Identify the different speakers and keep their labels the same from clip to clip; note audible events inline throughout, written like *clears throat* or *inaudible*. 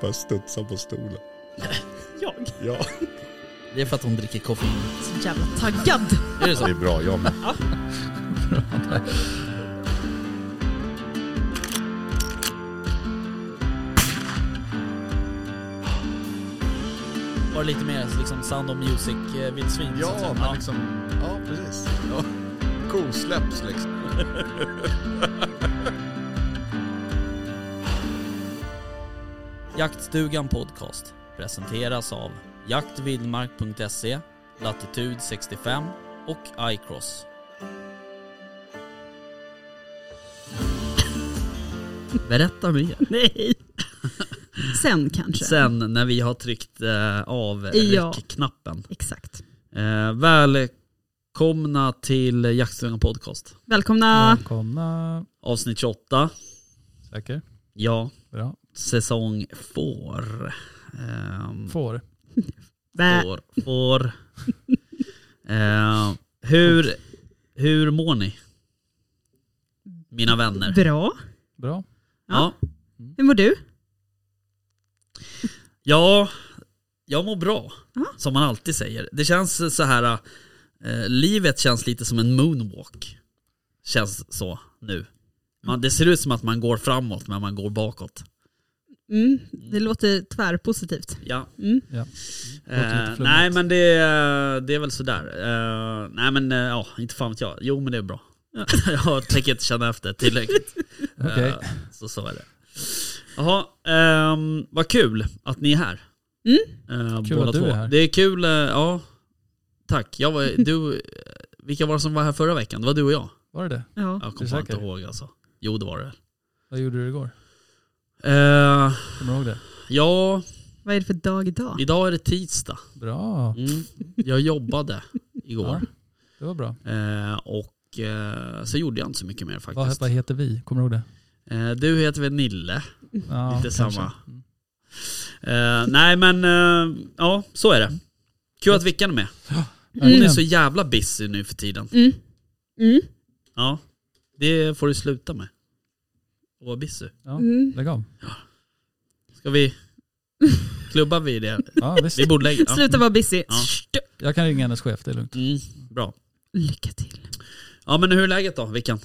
Speaker 1: Bara studsar på stolen.
Speaker 2: Jag?
Speaker 1: Ja.
Speaker 3: Det är för att hon dricker kaffe.
Speaker 2: Så jävla taggad.
Speaker 3: Är det
Speaker 1: Det
Speaker 3: så?
Speaker 1: är bra, jag med.
Speaker 3: Var det lite mer liksom Sound of eh, Music-vildsvin?
Speaker 1: Ja, men liksom... Ja, precis. Ja. Kosläpps liksom.
Speaker 3: *laughs* Jaktstugan Podcast presenteras av jaktvildmark.se, Latitude 65 och iCross. Berätta mer.
Speaker 2: Nej. Sen kanske.
Speaker 3: Sen när vi har tryckt eh, av
Speaker 2: Ja.
Speaker 3: räckknappen.
Speaker 2: Exakt.
Speaker 3: Eh, välkomna till Jaktstugan Podcast.
Speaker 2: Välkomna.
Speaker 4: Välkomna.
Speaker 3: Avsnitt 28.
Speaker 4: Säker?
Speaker 3: Ja,
Speaker 4: Bra.
Speaker 3: säsong 4. Ehm,
Speaker 4: Får.
Speaker 2: Vä-
Speaker 3: Får. får. Eh, hur, hur mår ni? Mina vänner.
Speaker 2: Bra.
Speaker 4: Bra.
Speaker 3: Ja. Mm.
Speaker 2: Hur mår du?
Speaker 3: ja, jag mår bra.
Speaker 2: Ja.
Speaker 3: Som man alltid säger. Det känns så här, eh, livet känns lite som en moonwalk. Känns så nu. Man, det ser ut som att man går framåt men man går bakåt.
Speaker 2: Mm, det låter tvärpositivt.
Speaker 3: Ja.
Speaker 2: Mm.
Speaker 4: Ja. lite
Speaker 3: Eh,
Speaker 4: flummigt.
Speaker 3: nej men det, det är väl sådär. Eh, nej men eh, ja, inte fan vet jag. Jo men det är bra. *laughs* jag tänker inte känna efter tillräckligt.
Speaker 4: Okej.
Speaker 3: Eh, så så är det. Jaha, ehm, vad kul att ni är här.
Speaker 2: Mm.
Speaker 3: Eh,
Speaker 4: Kul
Speaker 3: båda
Speaker 4: att du
Speaker 3: två.
Speaker 4: är här.
Speaker 3: Det är kul, eh, ja. Tack. Jag
Speaker 2: *laughs*
Speaker 3: var, du, eh, vilka var det som var här förra veckan? Det var du och jag.
Speaker 4: Var det det?
Speaker 2: Ja.
Speaker 3: Jag
Speaker 4: Är du
Speaker 3: kommer fan inte
Speaker 4: säker?
Speaker 3: ihåg alltså. Jo det var det.
Speaker 4: Vad gjorde du igår?
Speaker 3: Eh,
Speaker 4: Kommer du ihåg det?
Speaker 3: ja,
Speaker 2: Vad är det för dag idag?
Speaker 3: idag är det tisdag.
Speaker 4: Bra.
Speaker 3: Mm. Jag jobbade
Speaker 2: *laughs*
Speaker 3: igår.
Speaker 4: Det var bra.
Speaker 3: Eh, och eh, så gjorde jag inte så mycket mer
Speaker 4: Vad,
Speaker 3: faktiskt.
Speaker 4: vad heter vi? Kommer du ihåg det?
Speaker 3: Eh, du heter väl Nille?
Speaker 4: Ja,
Speaker 3: Lite
Speaker 4: kanske.
Speaker 3: samma.
Speaker 4: Mm.
Speaker 3: Eh, nej men eh, ja, så är det. Kul att Vickan är med. Hon är
Speaker 4: Verkligen.
Speaker 3: så jävla busy nu för tiden.
Speaker 2: Mm. Mm.
Speaker 3: Ja, det får du sluta med. Att vara busy.
Speaker 4: Ja,
Speaker 2: Mm.
Speaker 4: lägg av.
Speaker 3: Ska vi... Klubbar vi det?
Speaker 4: Ja, visst.
Speaker 3: Vi borde lägga... Ja.
Speaker 2: Sluta vara busy.
Speaker 3: Ja.
Speaker 2: Stö-
Speaker 4: Jag kan ringa hennes chef, det är lugnt.
Speaker 3: Mm, bra.
Speaker 2: Lycka till.
Speaker 3: Ja men hur är läget då Vickan?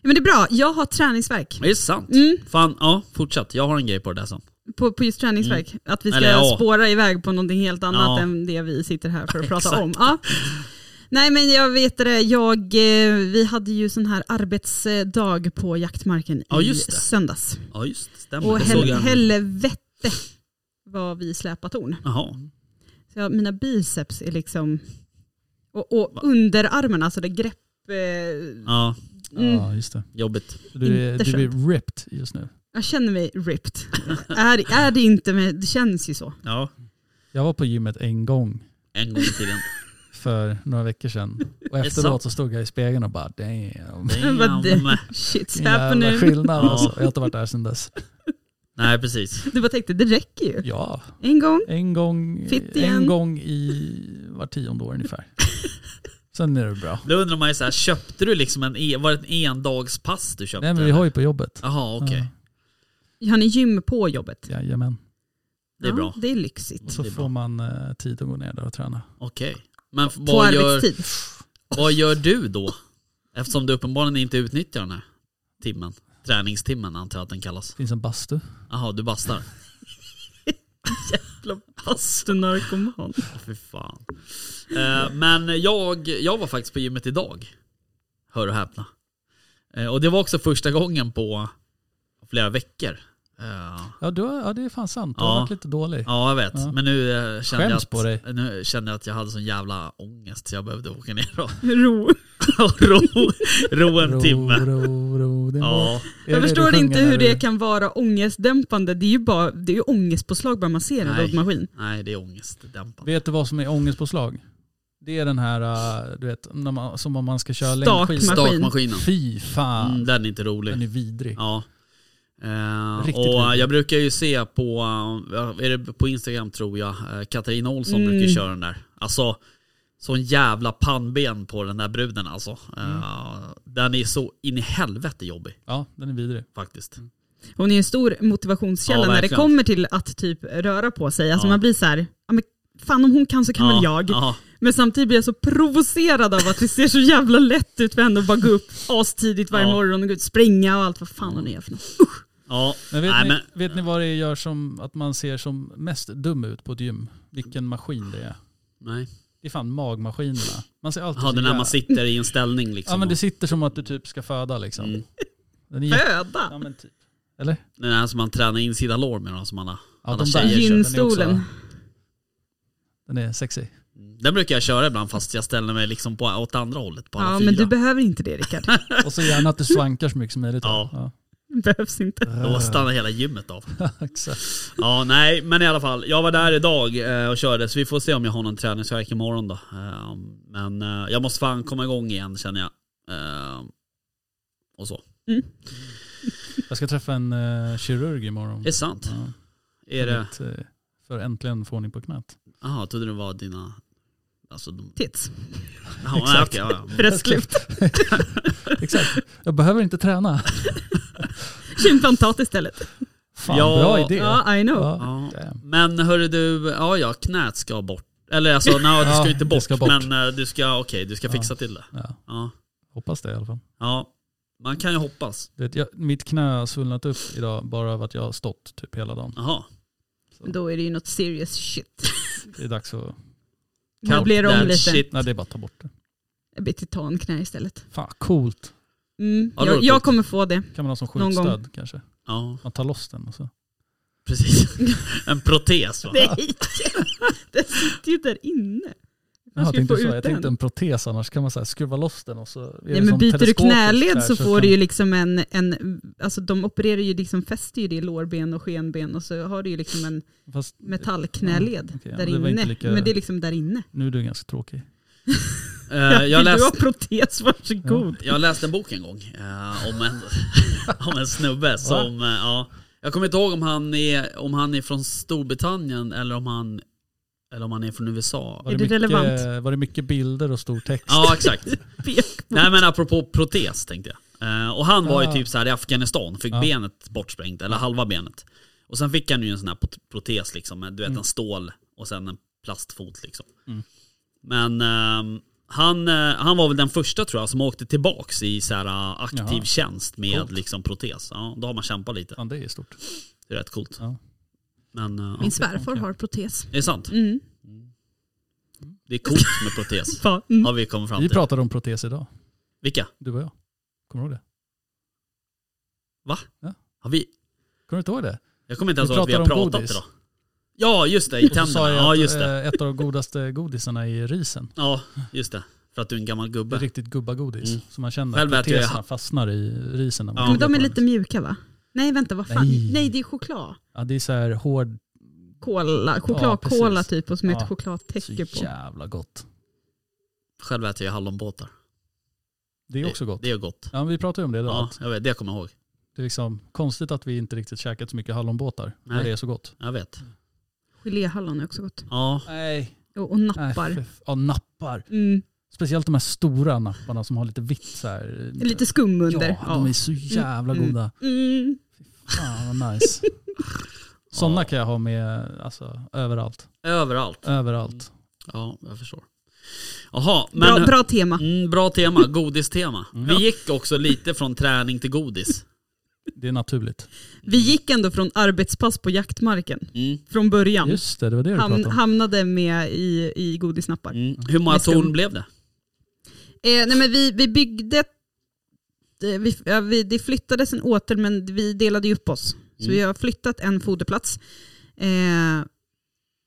Speaker 2: Ja, men det är bra, jag har träningsverk.
Speaker 3: Det är sant.
Speaker 2: Mm,
Speaker 3: Fan, ja fortsätt. Jag har en grej på det där sen.
Speaker 2: på, på just träningsverk. Att vi ska
Speaker 3: Mm. Eller ja.
Speaker 2: spåra iväg på någonting helt annat
Speaker 3: Ja.
Speaker 2: än det vi sitter här för att prata
Speaker 3: Exakt.
Speaker 2: om. Ja. Nej men jag vet det, jag, eh, vi hade ju sån här arbetsdag på jaktmarken
Speaker 3: Ja,
Speaker 2: i
Speaker 3: just det.
Speaker 2: söndags.
Speaker 3: Ja just det, stämmer.
Speaker 2: Och
Speaker 3: Det såg
Speaker 2: hel,
Speaker 3: jag.
Speaker 2: helvete vad vi släpar torn.
Speaker 3: Jaha.
Speaker 2: Så jag, mina biceps är liksom, och, och underarmarna, alltså det grepp... Eh,
Speaker 3: Ja,
Speaker 2: mm,
Speaker 4: Ja, just det.
Speaker 3: jobbigt.
Speaker 4: Så Du, är,
Speaker 2: Inte
Speaker 4: du är ripped just nu.
Speaker 2: jag känner mig ripped. är, är det inte, men det känns ju så.
Speaker 3: Ja,
Speaker 4: Jag var på gymmet en gång
Speaker 3: en gång i tiden.
Speaker 4: för några veckor sedan. Och
Speaker 3: det
Speaker 4: efteråt
Speaker 3: sant?
Speaker 4: så stod jag i spegeln och bara damn.
Speaker 2: *laughs* Vad
Speaker 3: Damn.
Speaker 2: det- Shit's
Speaker 4: Vilken jävla
Speaker 2: happening.
Speaker 4: skillnad
Speaker 3: Ja.
Speaker 4: alltså. Jag har inte varit där sedan dess.
Speaker 3: Nej, precis.
Speaker 2: Du bara tänkte, det räcker ju.
Speaker 4: Ja,
Speaker 2: En gång.
Speaker 4: En gång,
Speaker 2: Fitt igen.
Speaker 4: en gång i var tionde
Speaker 2: *laughs*
Speaker 4: år ungefär. Sen är det bra.
Speaker 3: Då undrar man ju så här, köpte du liksom en, e- var det en endagspass du köpte?
Speaker 4: Nej men vi har ju på jobbet.
Speaker 3: Jaha, okej.
Speaker 2: Han är gym på jobbet.
Speaker 4: Ja, jajamän.
Speaker 3: Det är bra.
Speaker 2: Ja, det är lyxigt.
Speaker 4: Och så
Speaker 3: Det är bra.
Speaker 4: får man eh, tid att gå ner där och träna.
Speaker 3: Okej. Men f-
Speaker 2: På
Speaker 3: vad gör,
Speaker 2: arbetstid.
Speaker 3: vad gör du då? Eftersom du uppenbarligen inte utnyttjar den här timmen. Träningstimmen antar jag att den kallas.
Speaker 4: Finns en bastu.
Speaker 3: Jaha, du bastar.
Speaker 2: Jävla bastunarkoman.
Speaker 3: Åh, Fy fan. Eh, men jag, jag var faktiskt på gymmet idag. Hör och häpna. Eh, och det var också första gången på flera veckor. Eh,
Speaker 4: Ja, du, har- ja det är fan sant. Du
Speaker 3: Ja.
Speaker 4: har varit lite dålig.
Speaker 3: Ja jag vet,
Speaker 4: Ja.
Speaker 3: men nu eh, kände, jag
Speaker 4: Skäms
Speaker 3: att,
Speaker 4: på dig.
Speaker 3: nu kände jag att jag hade sån jävla ångest så jag behövde åka ner och, *laughs*
Speaker 2: Ro.
Speaker 3: och ro, ro en
Speaker 4: Ro,
Speaker 3: timme.
Speaker 4: ro, ro, din båt.
Speaker 3: Ja,
Speaker 4: Är
Speaker 2: Jag
Speaker 4: det
Speaker 2: förstår
Speaker 4: du sjunger
Speaker 2: inte
Speaker 4: när
Speaker 2: hur
Speaker 4: du-
Speaker 2: det kan vara ångestdämpande. Det är ju, bara, det är ju ångestpåslag bara man ser en
Speaker 3: Nej.
Speaker 2: roddmaskin.
Speaker 3: nej det är ångestdämpande.
Speaker 4: Vet du vad som är ångestpåslag? Det är den här, eh, du vet, när man, som om man ska köra
Speaker 2: Stakma-
Speaker 4: längdskidor.
Speaker 3: Stakmaskinen,
Speaker 4: Fy fan.
Speaker 3: mm, den är inte rolig.
Speaker 4: Den är vidrig.
Speaker 3: Ja. Eh,
Speaker 4: Riktigt
Speaker 3: och eh,
Speaker 4: vidrig.
Speaker 3: jag brukar ju se på, eh, är det på Instagram tror jag, eh, Katarina Olsson
Speaker 2: Mm.
Speaker 3: brukar ju köra den där. Alltså, sån jävla pannben på den där bruden
Speaker 2: Mm.
Speaker 3: alltså. Eh, Den är så in i helvete jobbig
Speaker 4: Ja, den är vidrig.
Speaker 3: faktiskt.
Speaker 2: Hon är ju en stor motivationskälla
Speaker 3: Ja,
Speaker 2: när det
Speaker 3: verkligen.
Speaker 2: kommer till att typ röra på sig. Alltså
Speaker 3: Ja.
Speaker 2: man blir så här, ja, men fan om hon kan så kan väl jag.
Speaker 3: Ja,
Speaker 2: Men samtidigt blir jag så provocerad av att det ser så jävla lätt ut för henne att bara gå upp astidigt varje
Speaker 3: Ja.
Speaker 2: morgon och gå ut och springa och allt vad fan hon är för något.
Speaker 3: ja.
Speaker 4: Men vet,
Speaker 3: Nej,
Speaker 4: ni,
Speaker 3: men-
Speaker 4: vet ni vad det gör som att man ser som mest dum ut på ett gym? Vilken maskin det är.
Speaker 3: Nej.
Speaker 4: Det är fan magmaskinerna. Man ser alltid
Speaker 3: Ja, det
Speaker 4: så
Speaker 3: är när
Speaker 4: jävla-
Speaker 3: man sitter i en ställning liksom.
Speaker 4: Ja men det sitter som att du typ ska föda liksom.
Speaker 3: Mm.
Speaker 4: Den
Speaker 3: *laughs*
Speaker 4: är jätte- ja,
Speaker 2: Föda!
Speaker 4: men typ. Eller?
Speaker 3: Den här som man tränar insida lår med, den som alla,
Speaker 4: Ja,
Speaker 3: alla
Speaker 4: de där.
Speaker 3: tjejer kör.
Speaker 4: den
Speaker 2: Gynstolen.
Speaker 4: är Den är sexy.
Speaker 3: Den brukar jag köra ibland fast jag ställer mig liksom på, åt andra hållet på alla
Speaker 2: Ja
Speaker 3: fyra.
Speaker 2: men du behöver inte
Speaker 3: *laughs*
Speaker 2: det Rickard.
Speaker 4: Och så gärna att du svankar så mycket som möjligt.
Speaker 3: Ja.
Speaker 2: Det behövs inte.
Speaker 3: Då stannar hela gymmet av.
Speaker 4: *laughs* Exakt.
Speaker 3: Ja, nej, men i alla fall. Jag var där idag eh, och körde, så vi får se om jag har någon träningsvärk imorgon då. Eh, Men eh, jag måste fan komma igång igen känner jag. Eh, Och så.
Speaker 4: Jag ska träffa en eh, kirurg imorgon.
Speaker 3: Är det sant?
Speaker 4: Ja,
Speaker 3: Är
Speaker 4: för
Speaker 3: det...
Speaker 4: mitt, eh, för äntligen få ordning på knät.
Speaker 3: Jaha, trodde det var dina... Alltså, de...
Speaker 2: Tits.
Speaker 4: *laughs*
Speaker 3: ja, nej, *laughs* okej, ja, ja.
Speaker 2: Bröstklippt.
Speaker 4: Exakt. Jag behöver inte träna.
Speaker 2: Kymplantat istället.
Speaker 4: Fan,
Speaker 3: Ja,
Speaker 4: bra idé.
Speaker 2: Ja, I know.
Speaker 4: Ja.
Speaker 3: Ja.
Speaker 4: damn.
Speaker 3: Men hörru du, ja ja, knät ska bort. Eller alltså, nej, du
Speaker 4: Ja,
Speaker 3: ska inte
Speaker 4: det
Speaker 3: bort,
Speaker 4: ska bort.
Speaker 3: men eh, du ska, okej, du ska
Speaker 4: Ja.
Speaker 3: fixa till det.
Speaker 4: Ja,
Speaker 3: Ja.
Speaker 4: hoppas det i alla fall.
Speaker 3: ja, man kan ju hoppas.
Speaker 4: Du Vet, jag, mitt knä har svullnat upp idag bara av att jag har stått typ hela dagen.
Speaker 3: Jaha.
Speaker 2: Då är det ju något serious shit.
Speaker 4: Det är dags att...
Speaker 2: Då blir det
Speaker 3: That
Speaker 2: om lite.
Speaker 3: shit.
Speaker 4: Nej, det är bara att ta bort det.
Speaker 2: Jag blir titanknä istället.
Speaker 4: Fan, coolt.
Speaker 2: Mm.
Speaker 3: Ja, det
Speaker 2: Jag,
Speaker 3: var
Speaker 2: jag
Speaker 3: coolt.
Speaker 2: kommer få det.
Speaker 4: Kan man ha som
Speaker 2: Någon gång.
Speaker 4: skjutstöd kanske?
Speaker 3: Ja,
Speaker 4: Man tar loss den och så.
Speaker 3: precis.
Speaker 2: *laughs*
Speaker 3: En protes va?
Speaker 2: Nej, *laughs* den sitter ju där inne.
Speaker 4: Jaha, jag
Speaker 2: ska
Speaker 4: tänkte
Speaker 2: få
Speaker 4: så.
Speaker 2: ut
Speaker 4: Jag tänkte
Speaker 2: den.
Speaker 4: en protes annars kan man så här skruva loss den och så... är det
Speaker 2: Ja, men
Speaker 4: som
Speaker 2: byter du
Speaker 4: teleskopiskt där
Speaker 2: knäled så får
Speaker 4: kan-
Speaker 2: du ju liksom en, en, alltså de opererar ju liksom, fäster ju det i lårben och skenben och så har du ju liksom en
Speaker 4: Fast
Speaker 2: metallknäled
Speaker 4: Ja, okej, ja,
Speaker 2: där
Speaker 4: det var inte
Speaker 2: inne.
Speaker 4: lika-
Speaker 2: Men det är liksom där inne.
Speaker 4: nu är du ganska tråkig.
Speaker 3: Eh,
Speaker 2: Vill
Speaker 3: jag,
Speaker 2: *laughs* Du
Speaker 3: läst,
Speaker 2: har protes, varsågod.
Speaker 3: jag läste en bok en gång eh, om, en, *laughs* om en snubbe som, eh, ja, jag kommer inte ihåg om han är, om han är från Storbritannien eller om han, eller om han är från USA.
Speaker 4: Var
Speaker 2: Är det
Speaker 4: mycket,
Speaker 2: relevant?
Speaker 4: Var det mycket bilder och stor text?
Speaker 3: Ja exakt.
Speaker 2: Pek på-
Speaker 3: Nej men apropå protes tänkte jag. Eh, och han var ju
Speaker 4: Ah.
Speaker 3: typ så här i Afghanistan, fick
Speaker 4: Ja.
Speaker 3: benet bortsprängt, eller halva benet. Och sen fick han ju en sån här pot- protes liksom, med, du
Speaker 4: Mm.
Speaker 3: vet en stål och sen en plastfot liksom. Men ehm, han, eh, han var väl den första tror jag som åkte tillbaks i så här eh, aktiv
Speaker 4: Jaha.
Speaker 3: tjänst med
Speaker 4: Coolt.
Speaker 3: liksom protes. Ja, då har man kämpat lite.
Speaker 4: Fan, det är stort.
Speaker 3: Det är rätt coolt.
Speaker 4: Ja.
Speaker 3: Men eh, ja.
Speaker 2: Min svärfar har protes.
Speaker 3: det är sant.
Speaker 2: Mm.
Speaker 3: Det är coolt med protes.
Speaker 2: Fan. *laughs* Mm.
Speaker 3: Har vi kommit fram
Speaker 4: Vi
Speaker 3: till.
Speaker 4: pratade om protes idag,
Speaker 3: Vilka?
Speaker 4: du och jag. Kommer du ihåg det?
Speaker 3: Har vi?
Speaker 4: Kommer du inte ihåg det?
Speaker 3: Jag kommer inte
Speaker 4: Vi
Speaker 3: ens ihåg att vi har
Speaker 4: pratar om
Speaker 3: pratat
Speaker 4: godis.
Speaker 3: idag. Ja, just det. I
Speaker 4: Och så sa
Speaker 3: tänderna.
Speaker 4: jag
Speaker 3: Ja,
Speaker 4: att,
Speaker 3: just det.
Speaker 4: eh, ett av de godaste godisarna är risen.
Speaker 3: Ja, just det. För att du är en gammal
Speaker 4: Det är
Speaker 3: gubbe.
Speaker 4: riktigt gubbagodis.
Speaker 3: Mm.
Speaker 4: Som man känner att
Speaker 3: Själv äter jag-
Speaker 4: proteserna fastnar i risen. När man
Speaker 3: Ja.
Speaker 4: tuggar
Speaker 2: Men de är
Speaker 4: på den.
Speaker 2: lite mjuka va? Nej vänta, vad fan?
Speaker 4: Nej.
Speaker 2: Nej, det är choklad.
Speaker 4: Ja, det är så här hård,
Speaker 2: Kola,
Speaker 4: precis.
Speaker 2: chokladkola typ och som
Speaker 4: Ja.
Speaker 2: ett
Speaker 4: så
Speaker 2: chokladtäcke på.
Speaker 4: typ jävla gott.
Speaker 3: Själv äter jag hallonbåtar.
Speaker 4: Det är också gott.
Speaker 3: Det är gott.
Speaker 4: Ja, men vi pratade ju om det idag.
Speaker 3: Ja,
Speaker 4: att
Speaker 3: jag vet. Det kommer jag ihåg.
Speaker 4: Det är liksom konstigt att vi inte riktigt käkat så mycket hallonbåtar. När
Speaker 3: Nej.
Speaker 4: det är så gott.
Speaker 3: Jag vet.
Speaker 2: Geléhallon är också gott.
Speaker 3: Ja,
Speaker 4: Nej.
Speaker 2: Och, och nappar.
Speaker 4: Ja, nappar.
Speaker 2: Mm.
Speaker 4: Speciellt de här stora napparna som har lite vitt så här.
Speaker 2: Lite skum under.
Speaker 4: Ja, de är så jävla
Speaker 2: Mm.
Speaker 4: goda.
Speaker 2: Mm.
Speaker 4: Fan
Speaker 3: *laughs*
Speaker 4: vad nice. Sådana kan jag ha med alltså, överallt.
Speaker 3: överallt.
Speaker 4: Överallt.
Speaker 3: Ja, jag förstår. Jaha, men...
Speaker 4: eh,
Speaker 2: Bra, bra tema.
Speaker 3: Mm, bra tema. Godistema.
Speaker 4: Mm.
Speaker 3: Vi gick också lite från träning till godis.
Speaker 4: Det är naturligt.
Speaker 2: Vi gick ändå från arbetspass på jaktmarken
Speaker 3: Mm.
Speaker 2: från början.
Speaker 4: Just det, det var det du
Speaker 2: Ham,
Speaker 4: pratade om.
Speaker 2: hamnade med i, i godisnappar.
Speaker 3: Mm. Hur många
Speaker 2: Med skum.
Speaker 3: torn blev det?
Speaker 2: Eh, nej men vi, vi byggde, eh, vi, ja, vi, det flyttades en åter men vi delade ju upp oss. Så
Speaker 3: Mm.
Speaker 2: vi har flyttat en foderplats. Eh,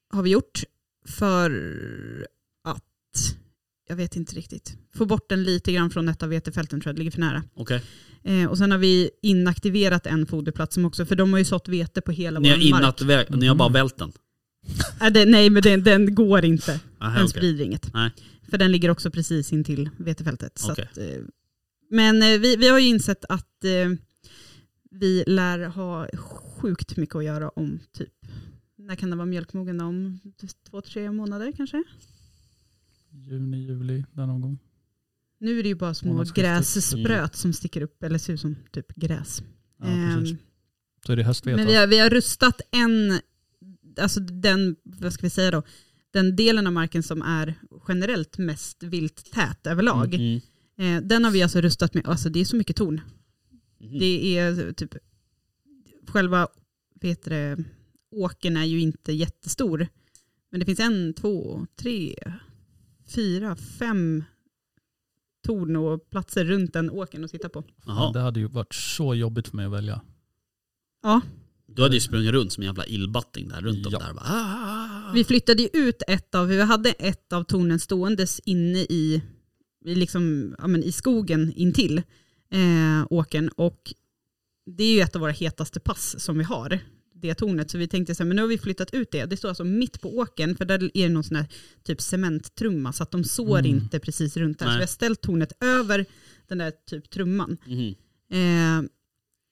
Speaker 2: har vi gjort för att, jag vet inte riktigt, få bort den lite grann från ett av vetefälten tror jag, det ligger för nära.
Speaker 3: Okej.
Speaker 2: Eh, och sen har vi inaktiverat en foderplats som också, för de har ju sått vete på hela
Speaker 3: Ni har
Speaker 2: vår mark.
Speaker 3: innat vä- ni har bara
Speaker 4: Mm.
Speaker 3: vält den?
Speaker 2: Äh, det, nej men den, den går inte.
Speaker 3: Aha,
Speaker 2: Den
Speaker 3: Ah, okej.
Speaker 2: sprider inget.
Speaker 3: Nej.
Speaker 2: För den ligger också precis intill vetefältet. Så
Speaker 3: Okej.
Speaker 2: att, eh, men eh, vi, vi har ju insett att eh, vi lär ha sjukt mycket att göra om typ, när kan den vara mjölkmogen då? Om två, tre månader kanske?
Speaker 4: Juni, juli, där någon gång.
Speaker 2: Nu är det ju bara små
Speaker 3: Mm.
Speaker 4: Månadsskiftet.
Speaker 2: grässpröt som sticker upp, eller ser ut som typ gräs.
Speaker 4: Ja, precis.
Speaker 2: Ehm,
Speaker 4: så är det höstvete.
Speaker 2: Men vi har, vi har rustat en, alltså den, vad ska vi säga då, den delen av marken som är generellt mest vilttät överlag.
Speaker 3: Mm.
Speaker 2: Eh, den har vi alltså rustat med, alltså det är så mycket torn.
Speaker 3: Mm.
Speaker 2: Det är typ, själva vad heter det, åkern är ju inte jättestor. Men det finns en, två, tre, fyra, fem torn och platser runt den åkern att titta på.
Speaker 4: Ja,
Speaker 3: Jaha,
Speaker 4: det hade ju varit så jobbigt för mig att välja.
Speaker 2: Ja,
Speaker 3: du hade ju sprungit runt som en jävla illbatting där runt om
Speaker 4: Ja.
Speaker 3: där. Bara, ah.
Speaker 2: vi flyttade ju ut ett av, vi hade ett av tornen ståendes inne i, i liksom, ja, men i skogen intill eh, åkern och det är ju ett av våra hetaste pass som vi har, det tornet. Så vi tänkte så här, men nu har vi flyttat ut det. Det står alltså mitt på åkern, för där är det någon sån här typ cementtrumma, så att de sår
Speaker 4: Mm.
Speaker 2: inte precis runt där. Så
Speaker 3: Nej.
Speaker 2: vi har ställt tornet över den där typ trumman.
Speaker 3: Mhm.
Speaker 2: Eh,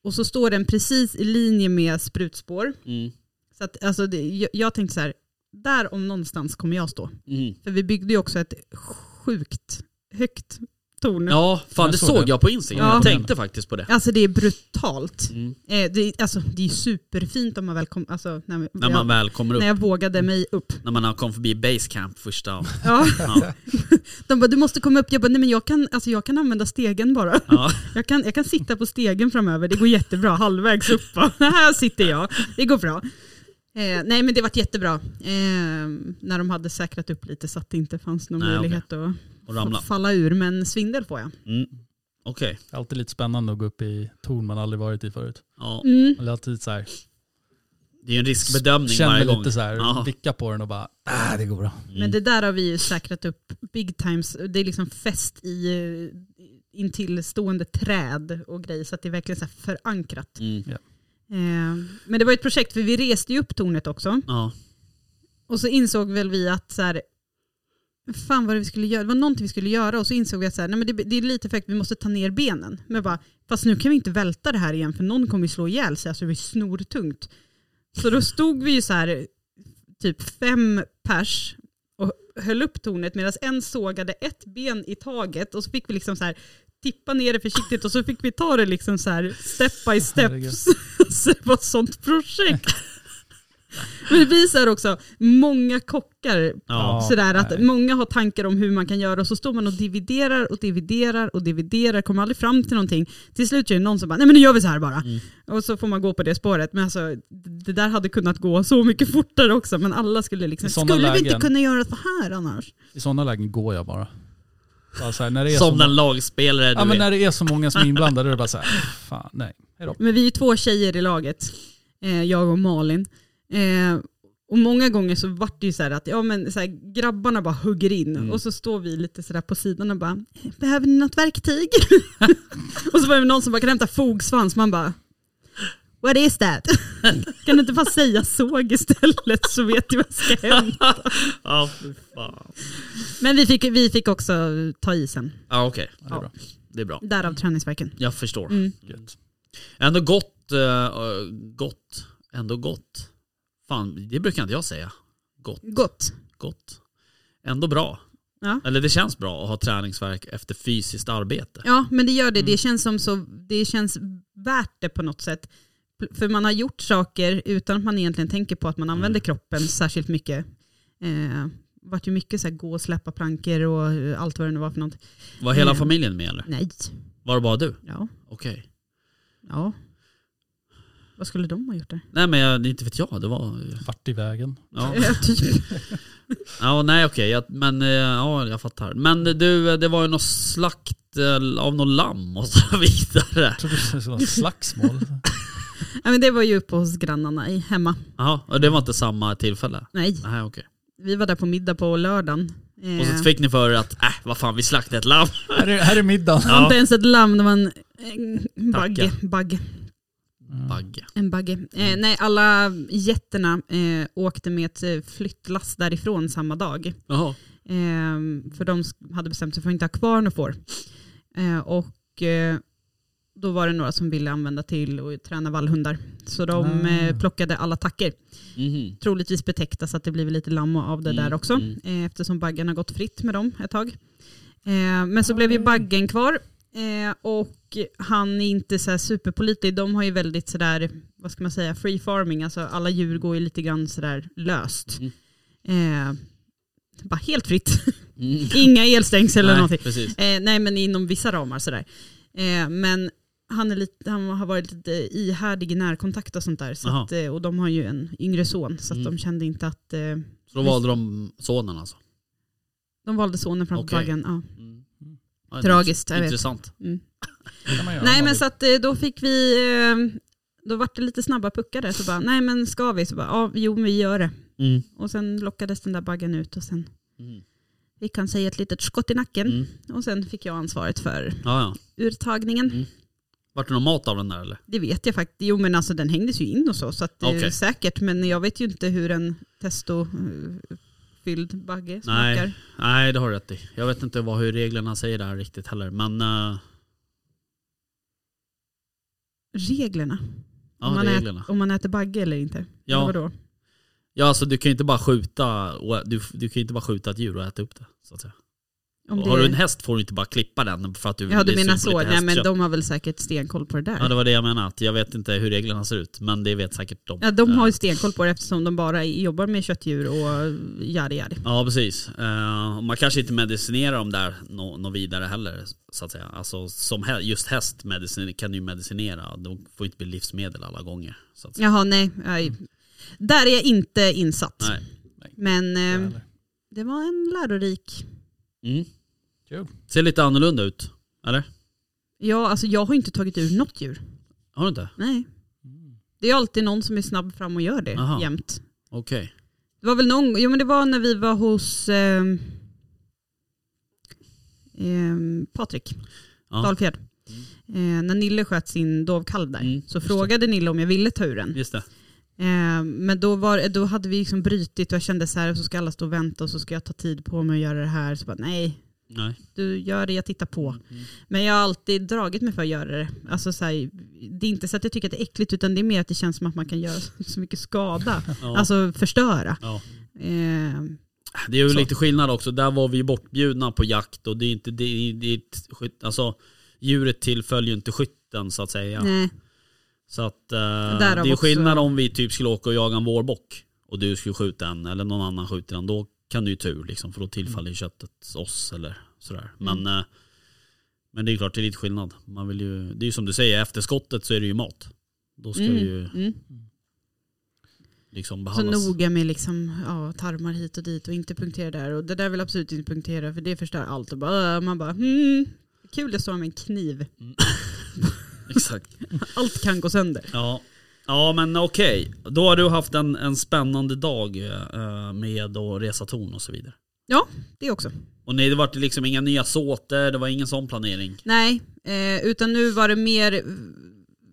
Speaker 2: och så står den precis i linje med sprutspår.
Speaker 3: Mm.
Speaker 2: Så att, alltså, det, jag, jag tänkte så här, där om någonstans kommer jag stå.
Speaker 3: Mm.
Speaker 2: För vi byggde ju också ett sjukt högt torn.
Speaker 3: Ja, fan
Speaker 4: Jag
Speaker 3: det
Speaker 4: såg
Speaker 3: såg
Speaker 4: det.
Speaker 3: jag på Instagram.
Speaker 2: Ja.
Speaker 3: Jag tänkte faktiskt på det.
Speaker 2: Alltså det är brutalt.
Speaker 3: Mm.
Speaker 2: Eh, det, är- alltså, det är superfint om man väl kom, alltså, när,
Speaker 3: När
Speaker 2: jag,
Speaker 3: man väl kommer upp,
Speaker 2: när jag vågade mig upp.
Speaker 3: när man har kommit förbi basecamp
Speaker 2: *laughs*
Speaker 3: första...
Speaker 2: Ja.
Speaker 3: Ja.
Speaker 2: De bara, du måste komma upp. Jag bara, nej men jag kan, alltså, jag kan använda stegen bara.
Speaker 3: Ja.
Speaker 2: Jag kan, jag kan sitta på stegen framöver, det går jättebra. Halvvägs upp *laughs* bara, här sitter jag. Det går bra. Eh, nej men det vart jättebra. Eh, när de hade säkrat upp lite så att det inte fanns någon
Speaker 3: Nej,
Speaker 2: möjlighet
Speaker 3: Och
Speaker 2: att,
Speaker 3: ramla.
Speaker 2: att falla ur. Men svindel får jag.
Speaker 3: Mm. Okej.
Speaker 4: Alltid lite spännande att gå upp i torn man aldrig varit i förut.
Speaker 3: Ja.
Speaker 2: Mm.
Speaker 4: Eller alltid så här,
Speaker 3: Det är ju en riskbedömning
Speaker 4: känner
Speaker 3: varje gång.
Speaker 4: lite så här,
Speaker 3: Ja.
Speaker 4: blicka på den och bara, ah det går bra.
Speaker 2: Men det där har vi ju säkrat upp big times. Det är liksom fäst i eh, intill stående träd och grejer så att det är verkligen så här förankrat.
Speaker 3: Mm.
Speaker 2: Eh, men det var ju ett projekt för vi reste ju upp tornet också
Speaker 3: Ja.
Speaker 2: och så insåg väl vi att så här, fan vad det vi skulle göra, det var någonting vi skulle göra och så insåg vi att så här, nej men det, det är lite för högt, vi måste ta ner benen. Men bara, fast nu kan vi inte välta det här igen för någon kommer ju slå ihjäl sig, alltså det blir snortungt. Så då stod vi ju så här, typ fem pers och höll upp tornet medan en sågade ett ben i taget och så fick vi liksom så här tippa ner det försiktigt och så fick vi ta det liksom så här step by step.
Speaker 4: Herregud.
Speaker 2: *laughs* så det var ett sånt projekt. Men det visar också många kockar
Speaker 3: Ja.
Speaker 2: Sådär att
Speaker 4: nej.
Speaker 2: många har tankar om hur man kan göra och så står man och dividerar och dividerar och dividerar, kommer aldrig fram till någonting. Till slut är det någon som bara, nej men nu gör vi så här bara.
Speaker 4: Mm.
Speaker 2: Och så får man gå på det spåret. Men alltså, det där hade kunnat gå så mycket fortare också. Men alla skulle liksom,
Speaker 4: I såna
Speaker 2: skulle vi inte
Speaker 4: lägen-
Speaker 2: kunna göra så här annars?
Speaker 4: I sådana lägen går jag bara. bara så här, när det är så
Speaker 3: Som
Speaker 4: många,
Speaker 3: den lagspelare du
Speaker 4: ja, men
Speaker 3: är.
Speaker 4: när det är så
Speaker 3: *laughs*
Speaker 4: många som är inblandade, då är det bara så här, fan nej. Hejdå.
Speaker 2: Men vi är ju två tjejer i laget, eh, jag och Malin. Eh, och många gånger så vart det ju så här att ja, men så här, grabbarna bara hugger in och så står vi lite så där på sidan och bara "Eh, behöver ni något verktyg? *laughs* och så var det någon som bara kan hämta fogsvans, man bara What is that? *laughs* kan du inte bara säga såg istället så vet du vad som ska hända.
Speaker 3: Ja, fy fan.
Speaker 2: *laughs* Men vi fick, vi fick också ta isen,
Speaker 3: Ja, okej.
Speaker 4: Ja, det är bra.
Speaker 3: Det är bra.
Speaker 2: därav träningsverken.
Speaker 3: Jag förstår.
Speaker 2: Mm.
Speaker 4: Gött.
Speaker 3: Ändå gott, eh, gott, ändå gott. Fan, det brukar inte jag säga. Gott,
Speaker 2: Gott.
Speaker 3: gott. Ändå bra.
Speaker 2: Ja.
Speaker 3: Eller det känns bra att ha träningsverk efter fysiskt arbete.
Speaker 2: Ja, men det gör det.
Speaker 3: Mm.
Speaker 2: Det känns som så, det känns värt det på något sätt. Pl- För man har gjort saker utan att man egentligen tänker på att man använder
Speaker 3: Mm.
Speaker 2: kroppen särskilt mycket. Eh, vart ju mycket så här gå och släppa plankor och eh, allt vad det nu var för något.
Speaker 3: Var hela
Speaker 2: Mm.
Speaker 3: familjen med eller?
Speaker 2: Nej,
Speaker 3: Var det bara du?
Speaker 2: ja,
Speaker 3: Okej.
Speaker 2: ja. Vad skulle de ha gjort där?
Speaker 3: Nej men jag, inte vet jag, det var...
Speaker 4: Vart i vägen.
Speaker 3: Ja,
Speaker 2: *laughs* Ja, typ.
Speaker 3: ja nej okej, jag- men eh, ja, jag fattar. Men du, eh, det var ju någon slakt eh, av någon lamm och så *laughs* vidare.
Speaker 4: Jag trodde det skulle vara slagsmål.
Speaker 2: ja, men det var ju uppe hos grannarna i, hemma.
Speaker 3: Jaha, och det var inte samma tillfälle?
Speaker 2: Nej,
Speaker 3: Nej okej.
Speaker 2: vi var där på middag på lördagen. Eh,
Speaker 3: Och så fick ni för er att, äh vad fan vi slaktade ett lamm.
Speaker 4: här, är, här är middagen.
Speaker 2: det var
Speaker 3: Ja.
Speaker 2: inte ens ett lamm, det var en, en bagge. bagge.
Speaker 3: Bagge.
Speaker 2: En bagge. Eh, nej, alla jätterna eh, åkte med ett eh, flyttlass därifrån samma dag.
Speaker 3: Jaha.
Speaker 2: Eh, för de sk- hade bestämt sig för att inte ha kvar några får. Eh, och eh, då var det några som ville använda till att träna vallhundar. Så de
Speaker 4: Ah.
Speaker 2: eh, plockade alla tacker.
Speaker 3: Mhm.
Speaker 2: Troligtvis betäckta så att det blev lite lamm av det
Speaker 3: Mm,
Speaker 2: där också.
Speaker 3: mm.
Speaker 2: Eh, eftersom baggen har gått fritt med dem ett tag. Eh, men så blev ju baggen kvar. Eh, och han är inte så här superpolitlig. De har ju väldigt sådär, vad ska man säga, free farming. Alltså alla djur går ju lite grann sådär löst.
Speaker 3: Mm.
Speaker 2: Eh, bara
Speaker 3: *laughs*
Speaker 2: helt fritt. Inga elstängsel eller
Speaker 3: Mhm. Nej,
Speaker 2: någonting.
Speaker 3: Precis.
Speaker 2: Eh, nej men inom vissa ramar sådär. Eh, men han, är lite, han har varit lite ihärdig i närkontakt och sånt där. Så
Speaker 3: Aha.
Speaker 2: att, eh, och de har ju en yngre son så att
Speaker 3: Mm.
Speaker 2: de kände inte att eh,
Speaker 3: Så då valde de sonen alltså.
Speaker 2: de valde sonen framför
Speaker 3: Okej.
Speaker 2: baggen. Ja.
Speaker 3: Mm. Ja, det är
Speaker 2: Tragiskt, jag vet.
Speaker 3: Intressant.
Speaker 2: Mm.
Speaker 4: kan man göra.
Speaker 2: Nej
Speaker 4: Man
Speaker 2: men
Speaker 4: vill.
Speaker 2: så att eh, då fick vi, eh, då vart det lite snabba puckar där. Så bara, nej men ska vi? Så bara, ja jo men vi gör det.
Speaker 3: Mm.
Speaker 2: Och sen lockades den där baggen ut och sen
Speaker 3: Mm.
Speaker 2: fick han sig ett litet skott i nacken.
Speaker 3: Mm.
Speaker 2: Och sen fick jag ansvaret för
Speaker 3: Ja, ja.
Speaker 2: urtagningen.
Speaker 3: Mm. Vart det någon mat av den där eller?
Speaker 2: Det vet jag faktiskt. Jo men alltså den hängdes ju in och så, så att det är
Speaker 3: Okej.
Speaker 2: säkert. Men jag vet ju inte hur en testofylld bagge smakar.
Speaker 3: Nej. Nej, det har du rätt i. Jag vet inte vad, hur reglerna säger där riktigt heller. Men eh,
Speaker 2: Reglerna.
Speaker 3: ja,
Speaker 2: om, man
Speaker 3: det är
Speaker 2: ät-
Speaker 3: reglerna.
Speaker 2: om man äter bagge eller inte. Eller
Speaker 3: Ja,
Speaker 2: vadå?
Speaker 3: ja alltså, du kan ju inte bara skjuta och, du, du kan ju inte bara skjuta ett djur och äta upp det. Så att säga.
Speaker 2: Om
Speaker 3: Har
Speaker 2: det-
Speaker 3: du en häst får du inte bara klippa den för att du det
Speaker 2: Ja du
Speaker 3: är
Speaker 2: menar
Speaker 3: surt på
Speaker 2: så.
Speaker 3: lite
Speaker 2: Nej men
Speaker 3: hästkött.
Speaker 2: de har väl säkert stenkoll på det där.
Speaker 3: Ja det var det jag menade, att jag vet inte hur reglerna ser ut men det vet säkert de.
Speaker 2: Ja, de har ju
Speaker 3: Eh,
Speaker 2: stenkoll på det eftersom de bara jobbar med köttdjur och yadi yadi.
Speaker 3: Ja precis. Eh, och man kanske inte medicinerar dem där nå nå vidare heller så att säga. Alltså som hä just häst medicin kan du ju medicinera, de får inte bli livsmedel alla gånger. Så att säga.
Speaker 2: Jaha, nej. nej. Där är jag inte insatt.
Speaker 3: Nej.
Speaker 2: Men
Speaker 4: Ja,
Speaker 2: eh,
Speaker 4: eller-
Speaker 2: det var en lärorik.
Speaker 3: Mm.
Speaker 4: Kul.
Speaker 3: Ser lite annorlunda ut, eller?
Speaker 2: Ja, alltså jag har inte tagit ur något djur.
Speaker 3: Har du inte?
Speaker 2: Nej. Det är alltid någon som är snabb fram och gör det
Speaker 3: Mm. Aha.
Speaker 2: jämt.
Speaker 3: Okej.
Speaker 2: Det var väl någon jo men det var när vi var hos ehm, ehm, Patrik
Speaker 3: Ja.
Speaker 2: Dahlfjärd. Eh, när Nille sköt sin dovkalv där
Speaker 3: Mm,
Speaker 2: så
Speaker 3: det.
Speaker 2: frågade Nille om jag ville ta ur den.
Speaker 3: Just det.
Speaker 2: Eh, men då, var, då hade vi liksom brytit och jag kände så här, så ska alla stå och vänta och så ska jag ta tid på mig och göra det här. Så bara, nej,
Speaker 3: Nej.
Speaker 2: du gör det, jag tittar på.
Speaker 3: Mm.
Speaker 2: Men jag har alltid dragit mig för att göra det. Alltså så här, det är inte så att jag tycker att det är äckligt utan det är mer att det känns som att man kan göra så mycket skada.
Speaker 3: *laughs* Ja.
Speaker 2: Alltså förstöra.
Speaker 3: Ja.
Speaker 2: Eh,
Speaker 3: Det är ju
Speaker 2: Så.
Speaker 3: lite skillnad också. Där var vi ju bortbjudna på jakt och det är inte det, är- det är ett skytt, alltså djuret tillföljer ju inte skytten så att säga.
Speaker 2: Nej,
Speaker 3: Så att eh,
Speaker 2: Därav
Speaker 3: det är
Speaker 2: också-
Speaker 3: skillnad om vi typ skulle åka och jaga en vårbock och du skulle skjuta en eller någon annan skjuter en. Då kan du ju tur liksom för då
Speaker 2: Mm.
Speaker 3: tillfaller ju köttet oss eller sådär. Men, eh, men det är klart det är lite skillnad. Man vill ju, det är ju som du säger, efter skottet så är det ju mat. Då ska det ju
Speaker 2: mm, mm.
Speaker 3: liksom
Speaker 2: Så
Speaker 3: behandlas.
Speaker 2: noga med liksom, ja, tarmar hit och dit och inte punktera där. Och det där vill jag absolut inte punktera för det förstör allt. Och bara, äh, man bara, hmm, kul det står med en kniv.
Speaker 3: Exakt.
Speaker 2: Allt kan gå sönder.
Speaker 3: Ja, ja men okej. Då har du haft en, en spännande dag eh, med att resa torn och så vidare.
Speaker 2: Det också.
Speaker 3: Och nej, det var liksom inga nya såter, det var ingen sån planering.
Speaker 2: Nej, eh, utan nu var det mer, eh,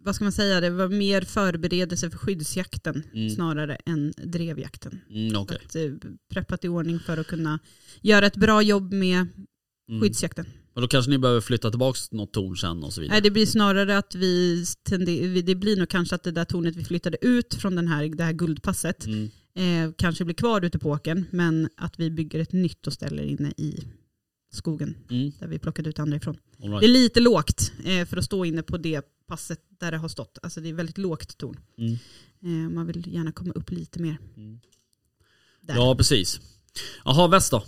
Speaker 2: vad ska man säga, det var mer förberedelse för skyddsjakten
Speaker 3: Mm.
Speaker 2: snarare än drevjakten.
Speaker 3: Mm, okej.
Speaker 2: Att, eh, preppat i ordning för att kunna göra ett bra jobb med
Speaker 3: Mm.
Speaker 2: skyddsjakten.
Speaker 3: Och då kanske ni behöver flytta tillbaka något torn sen och så vidare.
Speaker 2: Nej, det blir snarare att vi, tende- vi, det blir nog kanske att det där tornet vi flyttade ut från den här, det här guldpasset
Speaker 3: Mm.
Speaker 2: eh, kanske blir kvar ute på åkern, men att vi bygger ett nytt och ställer inne i skogen
Speaker 3: Mm.
Speaker 2: där vi plockade ut andra ifrån.
Speaker 3: All right.
Speaker 2: Det är lite lågt eh, för att stå inne på det passet där det har stått. Alltså det är väldigt lågt torn.
Speaker 3: Mm.
Speaker 2: Eh, man vill gärna komma upp lite mer.
Speaker 3: Mm.
Speaker 2: Där.
Speaker 3: Ja, precis. Jaha, väst då?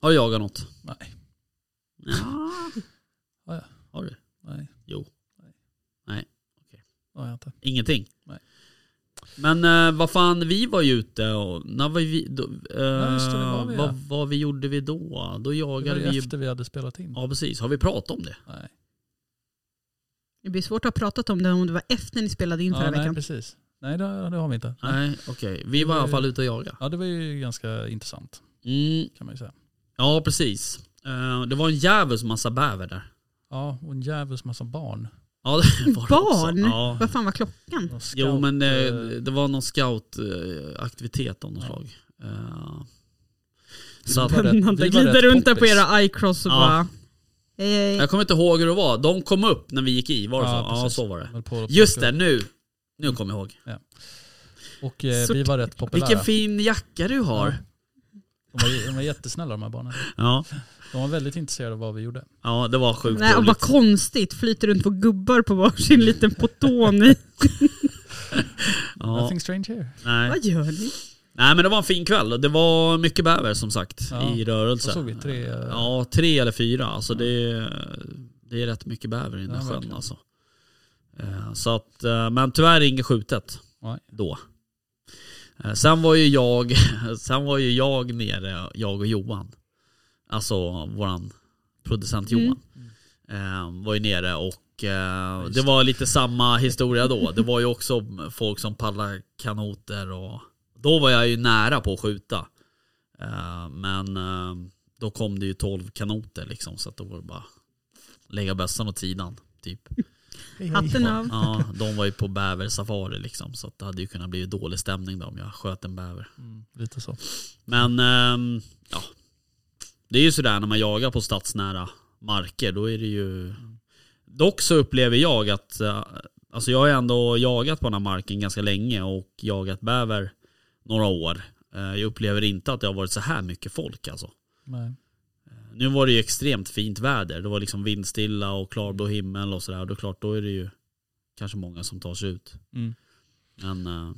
Speaker 3: Har du jagat något?
Speaker 4: Nej.
Speaker 2: Ah.
Speaker 3: Har du?
Speaker 4: Nej.
Speaker 3: Jo.
Speaker 4: det har jag inte.
Speaker 3: Ingenting?
Speaker 4: Nej.
Speaker 3: Men eh, vad fan, vi var ju ute och... När var vi, då, eh,
Speaker 4: just det, det var vi, ja.
Speaker 3: vad, vad vi gjorde vi då? Då
Speaker 4: Det var
Speaker 3: jagade
Speaker 4: ju
Speaker 3: vi ju...
Speaker 4: efter vi hade spelat in.
Speaker 3: Ja, precis. Har vi pratat om det?
Speaker 4: Nej.
Speaker 2: Det blir svårt att ha pratat om det om det var efter ni spelade in förra
Speaker 4: Ja, nej,
Speaker 2: veckan.
Speaker 4: precis. Nej, det, det har vi inte.
Speaker 3: Nej, okej. Vi var i alla fall ute och jagade.
Speaker 4: Ja, det var ju ganska intressant
Speaker 3: Mm,
Speaker 4: kan man ju säga.
Speaker 3: ja, precis. Eh, det var en djävulsk massa bäver där.
Speaker 4: Ja, och en djävulsk massa barn.
Speaker 3: Ja,
Speaker 2: *laughs*
Speaker 3: det var det också.
Speaker 2: Barn?
Speaker 3: Ja.
Speaker 2: Vad fan var klockan?
Speaker 4: Någon Scout,
Speaker 3: Mm. Jo, men eh,
Speaker 4: eh,
Speaker 3: det var någon scoutaktivitet av något slag. Eh,
Speaker 2: *laughs*
Speaker 3: så att,
Speaker 4: var rätt-
Speaker 2: Spännande.
Speaker 4: vi var
Speaker 2: Glider
Speaker 4: rätt
Speaker 2: runt där på
Speaker 4: poppis.
Speaker 2: era iCross och
Speaker 3: Ja.
Speaker 2: bara... eh, Hej, hej.
Speaker 3: jag kommer inte ihåg hur det var. De kom upp när vi gick i, var det
Speaker 4: Ja,
Speaker 3: så? Ja,
Speaker 4: precis.
Speaker 3: så var det.
Speaker 4: höll på att
Speaker 3: Just
Speaker 4: plocka
Speaker 3: det, nu. Nu kommer jag ihåg.
Speaker 4: upp. Och eh, vi
Speaker 2: Sort-
Speaker 4: var rätt populära.
Speaker 3: Vilken fin jacka du har.
Speaker 4: De var, de var jättesnälla de här barnen.
Speaker 3: Ja,
Speaker 4: De var väldigt intresserade av vad vi gjorde.
Speaker 3: ja det var sjukt
Speaker 2: Nej, och vad
Speaker 3: roligt.
Speaker 2: konstigt, flyter runt på gubbar på varsin liten poton.
Speaker 4: *laughs*
Speaker 2: i-
Speaker 3: Ja,
Speaker 4: Nothing strange here.
Speaker 3: nej.
Speaker 2: vad gör ni?
Speaker 3: nej men det var en fin kväll och det var mycket bäver som sagt
Speaker 4: Ja,
Speaker 3: i rörelse.
Speaker 4: Vad såg vi? Tre? eh,
Speaker 3: Ja, tre eller fyra. Alltså det, det är rätt mycket bäver i den
Speaker 4: Ja,
Speaker 3: här sjön
Speaker 4: verkligen.
Speaker 3: alltså. Eh, Så att, eh, men tyvärr inget skjutet
Speaker 4: Nej.
Speaker 3: då. Eh, Sen var ju jag, sen var ju jag nere, jag och Johan. Alltså våran producent
Speaker 2: Mm.
Speaker 3: Johan. eh, Var ju nere och eh,
Speaker 4: just
Speaker 3: det var lite samma historia då. Det var ju också folk som paddlade kanoter och då var jag ju nära på att skjuta. Eh, Men eh, då kom det ju 12 kanoter liksom så att då var det bara lägga bössan åt sidan. Typ.
Speaker 4: hej, hej.
Speaker 2: Hatten av.
Speaker 3: Ja, de var ju på bäversafari liksom så att det hade ju kunnat bli dålig stämning då om jag sköt en bäver.
Speaker 4: Mm, lite så.
Speaker 3: Men ehm, ja, det är ju sådär när man jagar på stadsnära marker. Då är det ju... Dock så upplever jag att, eh, alltså jag har ju ändå jagat på den här marken ganska länge och jagat bäver några år. Eh, Jag upplever inte att det har varit så här mycket folk alltså.
Speaker 4: Nej.
Speaker 3: Nu var det ju extremt fint väder. Det var liksom vindstilla och klarblå himmel och sådär. Och Då är det klart, då är det ju kanske många som tar sig ut.
Speaker 4: Mm.
Speaker 3: Men eh,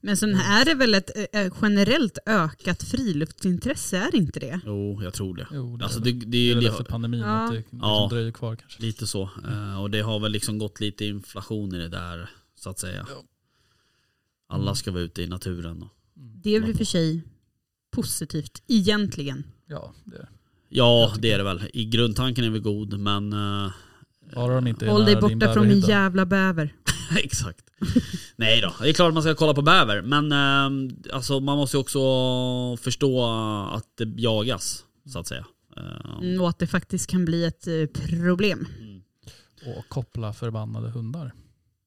Speaker 2: Men sen är det väl ett eh, generellt ökat friluftsintresse, är det inte det?
Speaker 3: jo, jag tror det.
Speaker 4: Jo, det
Speaker 3: Alltså
Speaker 4: är
Speaker 3: det,
Speaker 4: väl-
Speaker 3: det
Speaker 4: det
Speaker 3: är
Speaker 4: är
Speaker 3: ju
Speaker 4: väl
Speaker 3: li-
Speaker 4: efter pandemin
Speaker 2: Ja.
Speaker 4: att det liksom
Speaker 3: Ja.
Speaker 4: dröjer kvar kanske.
Speaker 3: lite så. Eh, Och det har väl liksom gått lite inflation i det där så att säga. Alla ska vara ute i naturen. Och...
Speaker 2: Det är väl i och för sig positivt, egentligen.
Speaker 4: Ja, det är det.
Speaker 3: Ja, det är det väl. I grundtanken är vi god, men eh, *laughs*
Speaker 4: Bara de inte är
Speaker 2: Håll dig
Speaker 4: nära din
Speaker 2: borta från min
Speaker 4: bäverhydda.
Speaker 2: jävla bäver.
Speaker 3: Exakt. Nej då, det är klart man ska kolla på bäver. Men ehm, alltså, man måste ju också förstå att det jagas, så att säga. Ehm,
Speaker 2: Mm, Och att det faktiskt kan bli ett eh, problem.
Speaker 3: mm.
Speaker 4: Och koppla förbannade hundar.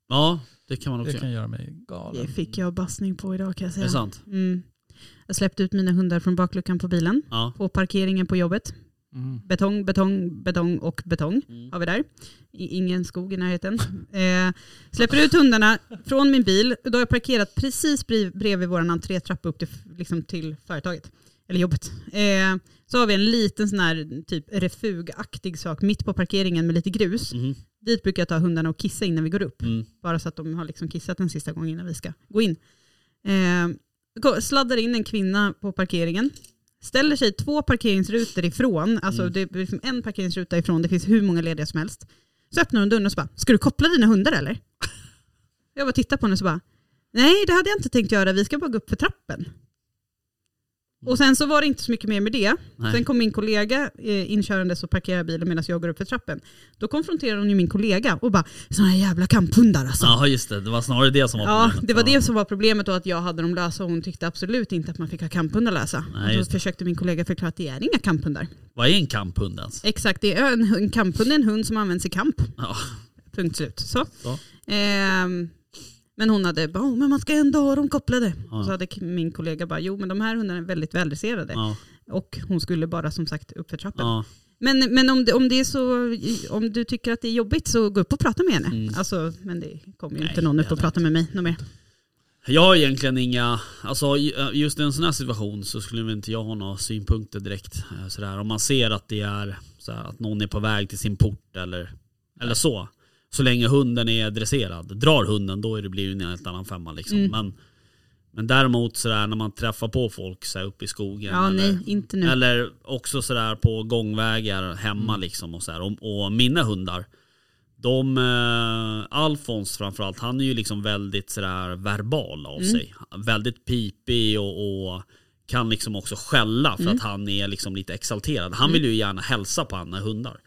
Speaker 3: Ja, det kan man också
Speaker 4: Det
Speaker 3: göra.
Speaker 4: kan göra mig
Speaker 2: Det
Speaker 4: galen.
Speaker 2: fick jag bassning på idag kan jag
Speaker 3: Är det
Speaker 2: säga.
Speaker 3: sant?
Speaker 2: Mm. Jag släppte ut mina hundar från bakluckan på bilen,
Speaker 3: Ja.
Speaker 2: på parkeringen på jobbet.
Speaker 4: Mm.
Speaker 2: Betong, betong, betong och betong
Speaker 3: Mm.
Speaker 2: har vi där. I, ingen skog i närheten. Eh, släpper ut hundarna från min bil. Då har jag parkerat precis bri- bredvid vår entrétrappa upp till, liksom, till företaget. Eller jobbet. Eh, så har vi en liten sån här typ refugaktig sak mitt på parkeringen med lite grus.
Speaker 3: Mhm.
Speaker 2: Dit brukar jag ta hundarna och kissa innan vi går upp.
Speaker 3: Mm.
Speaker 2: Bara så att de har liksom kissat en sista gång innan vi ska gå in. Eh, gå- sladdar in en kvinna på parkeringen. Ställer sig två parkeringsrutor ifrån. Alltså
Speaker 3: Mm.
Speaker 2: det är liksom en parkeringsruta ifrån. Det finns hur många lediga som helst. Så öppnar hon dörren och så bara, ska du koppla dina hundar eller? Jag bara tittar på henne och så bara, nej det hade jag inte tänkt göra. Vi ska bara gå upp för trappen. Och sen så var det inte så mycket mer med det.
Speaker 3: Mm. Nej.
Speaker 2: Sen kom min kollega eh, inkörandes och parkerade bilen medan jag går upp för trappen. Då konfronterar hon ju min kollega och bara, såna här jävla kamphundar alltså.
Speaker 3: Ja, just det. Det var snarare det som var
Speaker 2: Ja,
Speaker 3: problemet.
Speaker 2: det var det som var problemet och att jag hade dem lösa och hon tyckte absolut inte att man fick ha kamphundar lösa.
Speaker 3: Nej,
Speaker 2: och
Speaker 3: just
Speaker 2: då
Speaker 3: det.
Speaker 2: försökte min kollega förklara att det är inga kamphundar.
Speaker 3: Vad är en kamphund ens?
Speaker 2: Exakt, det är en, hund- en kamphund är en hund som används i kamp.
Speaker 3: Ja.
Speaker 2: Punkt slut. Så.
Speaker 3: Så.
Speaker 2: Ehm, men hon hade bara, "Åh, men man ska ändå ha dem kopplade.
Speaker 3: Ja.
Speaker 2: Och så hade k- min kollega bara, jo men de här hundarna är väldigt väldresserade.
Speaker 3: Ja,
Speaker 2: Och hon skulle bara som sagt upp för trappen.
Speaker 3: ja.
Speaker 2: Men, men om, det, om, det är så, om du tycker att det är jobbigt så gå upp och prata med henne.
Speaker 3: Mm.
Speaker 2: Alltså, men det kommer ju
Speaker 3: Nej,
Speaker 2: inte någon upp
Speaker 3: det
Speaker 2: och prata med mig något mer.
Speaker 3: Jag har egentligen inga, alltså ju- just i en sån här situation så skulle väl inte jag ha några synpunkter direkt. eh, Sådär. Om man ser att det är sådär, att någon är på väg till sin port eller, eller så. Så länge hunden är dresserad. Drar hunden då är det blir det en helt annan femma liksom.
Speaker 2: Mm.
Speaker 3: Men, men däremot sådär när man träffar på folk såhär, uppe i skogen.
Speaker 2: Ja,
Speaker 3: eller,
Speaker 2: nej, inte nu.
Speaker 3: Eller också sådär på gångvägar hemma liksom och sådär. Och, och mina hundar, de, eh, Alfons framförallt, han är ju liksom väldigt sådär verbal av sig. Väldigt pipig och, och kan liksom också skälla för att han är liksom lite exalterad. Han vill ju gärna hälsa på andra hundar.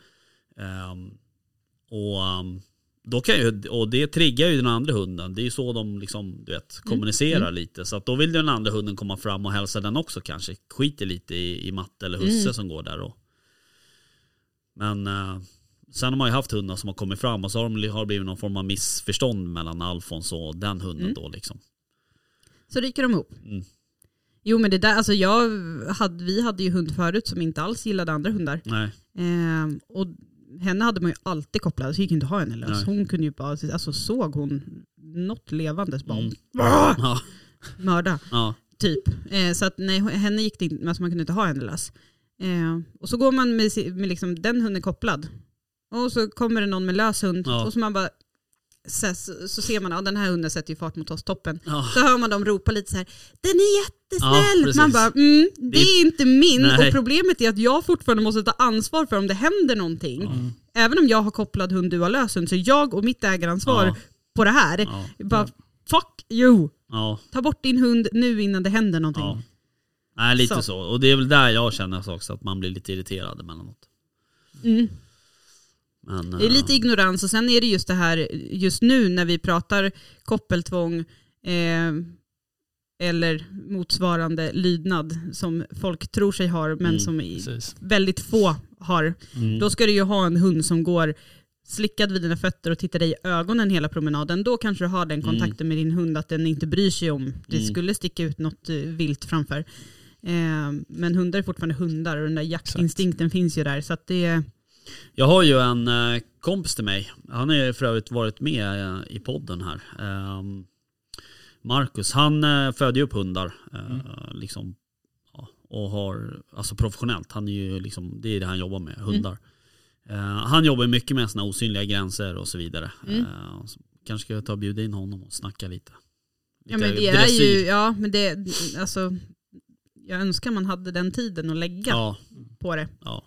Speaker 3: Ehm, och, ehm, då kan ju, och det triggar ju den andra hunden. Det är ju så de liksom, du vet,
Speaker 2: Mm,
Speaker 3: kommunicerar lite. Så att då vill den andra hunden komma fram och hälsa den också kanske. Skiter lite i, i matte eller husse
Speaker 2: Mm.
Speaker 3: som går där. Och. Men eh, sen har man ju haft hundar som har kommit fram och så har, de, har det blivit någon form av missförstånd mellan Alfons och den hunden
Speaker 2: Mm.
Speaker 3: då liksom.
Speaker 2: Så ryker de ihop.
Speaker 3: Mm.
Speaker 2: Jo men det där, alltså jag hade, vi hade ju hund förut som inte alls gillade andra hundar.
Speaker 3: Nej,
Speaker 2: Ehm, och henne hade man ju alltid kopplad, så gick inte att ha henne lös. Hon kunde ju bara, alltså såg hon något levandes bara
Speaker 3: Mm.
Speaker 2: "Bah!"
Speaker 3: *laughs* ja,
Speaker 2: mörda.
Speaker 3: ja,
Speaker 2: Typ. Eh, så att nej, henne gick det inte, alltså man kunde inte ha henne lös. Eh, och så går man med, si- med liksom, den hunden kopplad. Och så kommer det någon med lös hund.
Speaker 3: Ja.
Speaker 2: Och så man bara, så, här, så, så ser man, ja den här hunden sätter ju fart mot oss, toppen.
Speaker 3: Ja.
Speaker 2: Så hör man dem ropa lite så här, den är
Speaker 3: Ja,
Speaker 2: jättesnäll.
Speaker 3: precis.
Speaker 2: man bara, mm, det är inte min.
Speaker 3: Nej.
Speaker 2: Och problemet är att jag fortfarande måste ta ansvar för om det händer någonting. Även om jag har kopplad hund, du har lös hund, så jag och mitt ägaransvar
Speaker 3: Ja.
Speaker 2: på det här,
Speaker 3: Ja.
Speaker 2: bara fuck you.
Speaker 3: Ja,
Speaker 2: Ta bort din hund nu innan det händer någonting.
Speaker 3: ja. Nej, lite så.
Speaker 2: Så.
Speaker 3: Och det är väl där jag känner också att man blir lite irriterad emellanåt.
Speaker 2: Mm.
Speaker 3: Men,
Speaker 2: Det är
Speaker 3: eh,
Speaker 2: lite ignorans och sen är det just det här just nu när vi pratar koppeltvång eh, eller motsvarande lydnad som folk tror sig har men
Speaker 3: Mm,
Speaker 2: som i,
Speaker 3: *laughs*
Speaker 4: Precis.
Speaker 2: väldigt få har.
Speaker 3: mm.
Speaker 2: Då ska du ju ha en hund som går slickad vid dina fötter och tittar dig i ögonen hela promenaden. Då kanske du har den kontakten med din hund att den inte bryr sig om det
Speaker 3: Mm.
Speaker 2: skulle sticka ut något eh, vilt framför. Eh, men hundar är fortfarande hundar och den där jaktinstinkten finns ju där. Så att det är...
Speaker 3: Jag har ju en eh, kompis till mig. Han har ju för övrigt varit med eh, i podden här. Ehm, Marcus, han eh, föder ju upp hundar. eh,
Speaker 2: Mm.
Speaker 3: liksom, ja, och har, alltså professionellt, han är ju liksom, det är det han jobbar
Speaker 2: Mm.
Speaker 3: med, hundar. Eh, han jobbar ju mycket med sina osynliga gränser och så vidare.
Speaker 2: Mm.
Speaker 3: Eh, så kanske ska jag ta och bjuda in honom och snacka lite.
Speaker 2: Ja men
Speaker 3: Lite
Speaker 2: det är
Speaker 3: dressyr.
Speaker 2: ju, ja men det, alltså jag önskar man hade den tiden att lägga
Speaker 3: Ja,
Speaker 2: på det.
Speaker 3: ja.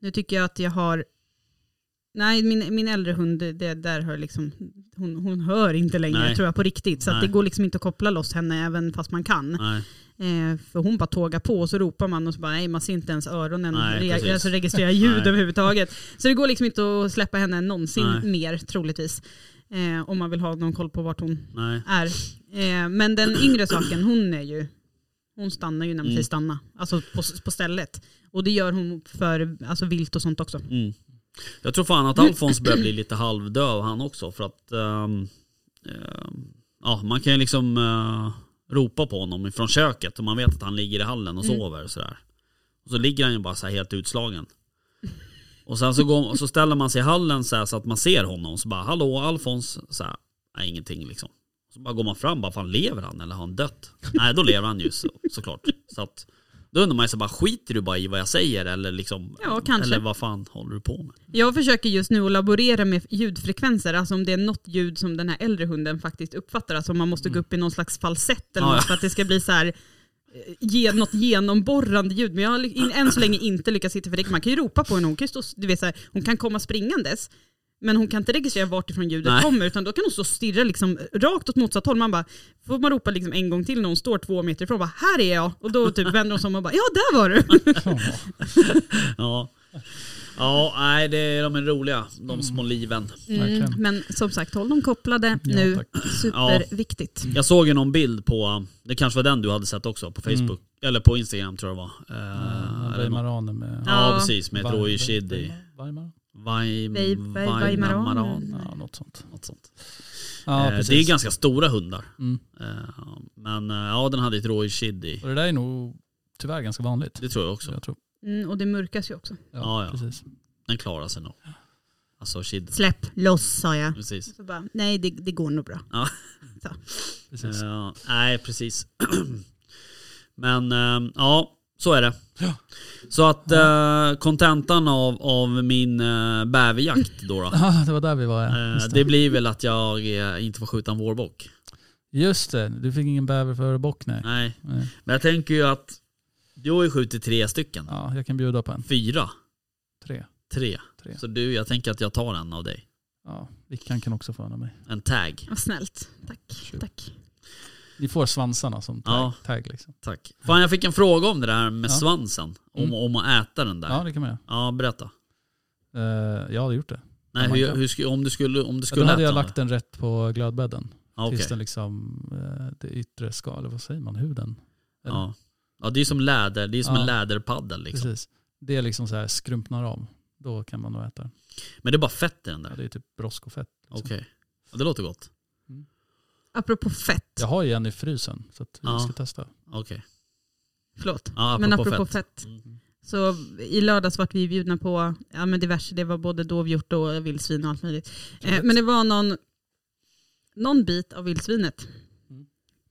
Speaker 2: Nu tycker jag att jag har, nej min, min äldre hund, det- det där hör liksom, hon, hon hör inte längre
Speaker 3: Nej.
Speaker 2: tror jag på riktigt. Så att
Speaker 3: Nej.
Speaker 2: det går liksom inte att koppla loss henne även fast man kan.
Speaker 3: Nej.
Speaker 2: Eh, för hon bara tågar på och så ropar man och så bara nej man ser inte ens öronen,
Speaker 3: Nej, precis.
Speaker 2: re- alltså registrera ljud
Speaker 3: Nej.
Speaker 2: överhuvudtaget. Så det går liksom inte att släppa henne någonsin
Speaker 3: Nej.
Speaker 2: mer troligtvis. Eh, om man vill ha någon koll på vart hon
Speaker 3: Nej.
Speaker 2: är. Eh, men den yngre saken, hon är ju, hon stannar ju när man
Speaker 3: Mm.
Speaker 2: säger stanna. Alltså på, på stället. Och det gör hon för alltså, vilt och sånt också.
Speaker 3: Mm. Jag tror fan att Alfons börjar bli lite halvdöv han också för att ehm, ehm, ja, man kan ju liksom eh, ropa på honom från köket och man vet att han ligger i hallen och
Speaker 2: Mm.
Speaker 3: sover och sådär. Och så ligger han ju bara så här helt utslagen. Och sen så, går, så ställer man sig i hallen så, här så att man ser honom så bara hallå Alfons, så här, nej ingenting liksom. Så bara går man fram bara fan lever han eller har han dött? Nej då lever han ju så, såklart. Så att, då undrar man ju så här, bara skiter du bara i vad jag säger eller liksom
Speaker 2: Ja, kanske.
Speaker 3: eller vad fan håller du på med?
Speaker 2: Jag försöker just nu att laborera med ljudfrekvenser, alltså om det är något ljud som den här äldre hunden faktiskt uppfattar, alltså om man måste gå upp i någon slags falsett eller
Speaker 3: Mm. Ja,
Speaker 2: något
Speaker 3: ja.
Speaker 2: för att det ska bli så här eh, ge något genomborrande ljud. Men jag har ly- än så länge inte lyckats hitta, för det, man kan ju ropa på henne, hon kan, ju stå, du vet, så här, hon kan komma springandes, men hon kan inte registrera vart ifrån ljudet
Speaker 3: Nej.
Speaker 2: kommer, utan då kan hon stå och stirra liksom, rakt åt motsatt håll. Man bara, får man ropa liksom en gång till när hon står två meter ifrån, bara, här är jag, och då typ vänder hon sig om och bara, ja där
Speaker 3: *laughs*
Speaker 2: var du.
Speaker 3: Ja. Ja, nej det är de är roliga,
Speaker 4: Mm.
Speaker 3: de små liven.
Speaker 4: Verkligen.
Speaker 2: Mm, Men som sagt, håll dem kopplade
Speaker 4: Ja,
Speaker 2: nu.
Speaker 4: tack.
Speaker 2: Superviktigt.
Speaker 3: Jag såg ju någon bild på, det kanske var den du hade sett också,
Speaker 4: Mm.
Speaker 3: på Facebook, eller på Instagram tror jag det var. Eh,
Speaker 4: Ah,
Speaker 3: eller någon-
Speaker 4: Weimaraner med...
Speaker 3: ja,
Speaker 2: Ja.
Speaker 3: precis, med ett rådjurskid i
Speaker 4: Weimar?
Speaker 3: Weim-
Speaker 2: Wei- Wei-
Speaker 3: Weimaraner.
Speaker 2: Weimaraner.
Speaker 4: Ja, något sånt.
Speaker 3: Något sånt.
Speaker 4: Ja,
Speaker 3: Mm. Eh,
Speaker 4: precis.
Speaker 3: det är ganska stora hundar.
Speaker 4: Mm.
Speaker 3: Eh, Men eh, ja, den hade ett rådjurskid i.
Speaker 4: Och det där är nog tyvärr ganska vanligt.
Speaker 3: Det tror jag också.
Speaker 4: Jag tror.
Speaker 2: Mm, och det mörkas ju också.
Speaker 3: Ja, ja.
Speaker 4: Precis.
Speaker 3: Den klarar sig nog. Alltså kid.
Speaker 2: Släpp loss sa jag.
Speaker 3: Precis.
Speaker 2: Så bara, nej det, det går nog bra.
Speaker 4: *laughs* precis.
Speaker 3: Ja, Eh, nej, precis. *clears throat* Men eh, ja, så är det.
Speaker 4: Ja.
Speaker 3: Så att eh, kontentan av, av min eh, bäverjakt då, då
Speaker 4: Ah, det var där vi var ja.
Speaker 3: eh,
Speaker 4: Just
Speaker 3: det
Speaker 4: det.
Speaker 3: blir väl att jag eh, inte får skjuta en vårbock.
Speaker 4: Just det, du fick ingen bäver Eh, för bock nej.
Speaker 3: Nej,
Speaker 4: nej.
Speaker 3: men jag tänker ju att du har ju skjutit tre stycken.
Speaker 4: Ja, jag kan bjuda på en.
Speaker 3: Fyra,
Speaker 4: Tre.
Speaker 3: tre.
Speaker 4: Tre.
Speaker 3: Så du, jag tänker att jag tar en av dig.
Speaker 4: Ja, Vickan kan också få en av mig.
Speaker 3: En tag.
Speaker 2: Vad snällt. Tack.
Speaker 4: Kul.
Speaker 2: Tack.
Speaker 4: Ni får svansarna som tag.
Speaker 3: Ja.
Speaker 4: tag liksom.
Speaker 3: Tack. Fan, jag fick en fråga om det där med
Speaker 4: Ja.
Speaker 3: svansen. Om,
Speaker 4: Mm.
Speaker 3: om att äta den där.
Speaker 4: Ja,
Speaker 3: Ja,
Speaker 4: det kan man göra.
Speaker 3: berätta.
Speaker 4: Eh, jag hade gjort det.
Speaker 3: Nej,
Speaker 4: Ja, man
Speaker 3: hur,
Speaker 4: kan.
Speaker 3: hur, sku- om du skulle, om du
Speaker 4: Då
Speaker 3: skulle
Speaker 4: hade jag
Speaker 3: äta
Speaker 4: lagt den rätt på glödbädden.
Speaker 3: Ja, okej.
Speaker 4: Tills den liksom, eh, det yttre skal, eller vad säger man, huden? Eller?
Speaker 3: Ja. ja, det är som läder. Det är som
Speaker 4: Ja.
Speaker 3: en läderpaddel liksom.
Speaker 4: Precis. Det liksom så här skrumpnar av. Då kan man nog äta den.
Speaker 3: Men det är bara fett i den
Speaker 4: Ja,
Speaker 3: där.
Speaker 4: det är typ broskofett. Liksom.
Speaker 3: Okej. Ja, det låter gott.
Speaker 2: Apropå fett.
Speaker 4: Jag har ju en i frysen så att vi
Speaker 3: Ja.
Speaker 4: ska testa.
Speaker 3: Okej.
Speaker 2: Förlåt.
Speaker 3: Ja,
Speaker 2: men apropå fett.
Speaker 3: Mm.
Speaker 2: Så i lördags vart vi bjudna på ja, men diverse, det var både dovhjort och vildsvin och allt möjligt. Eh, men det var någon, någon bit av vildsvinet.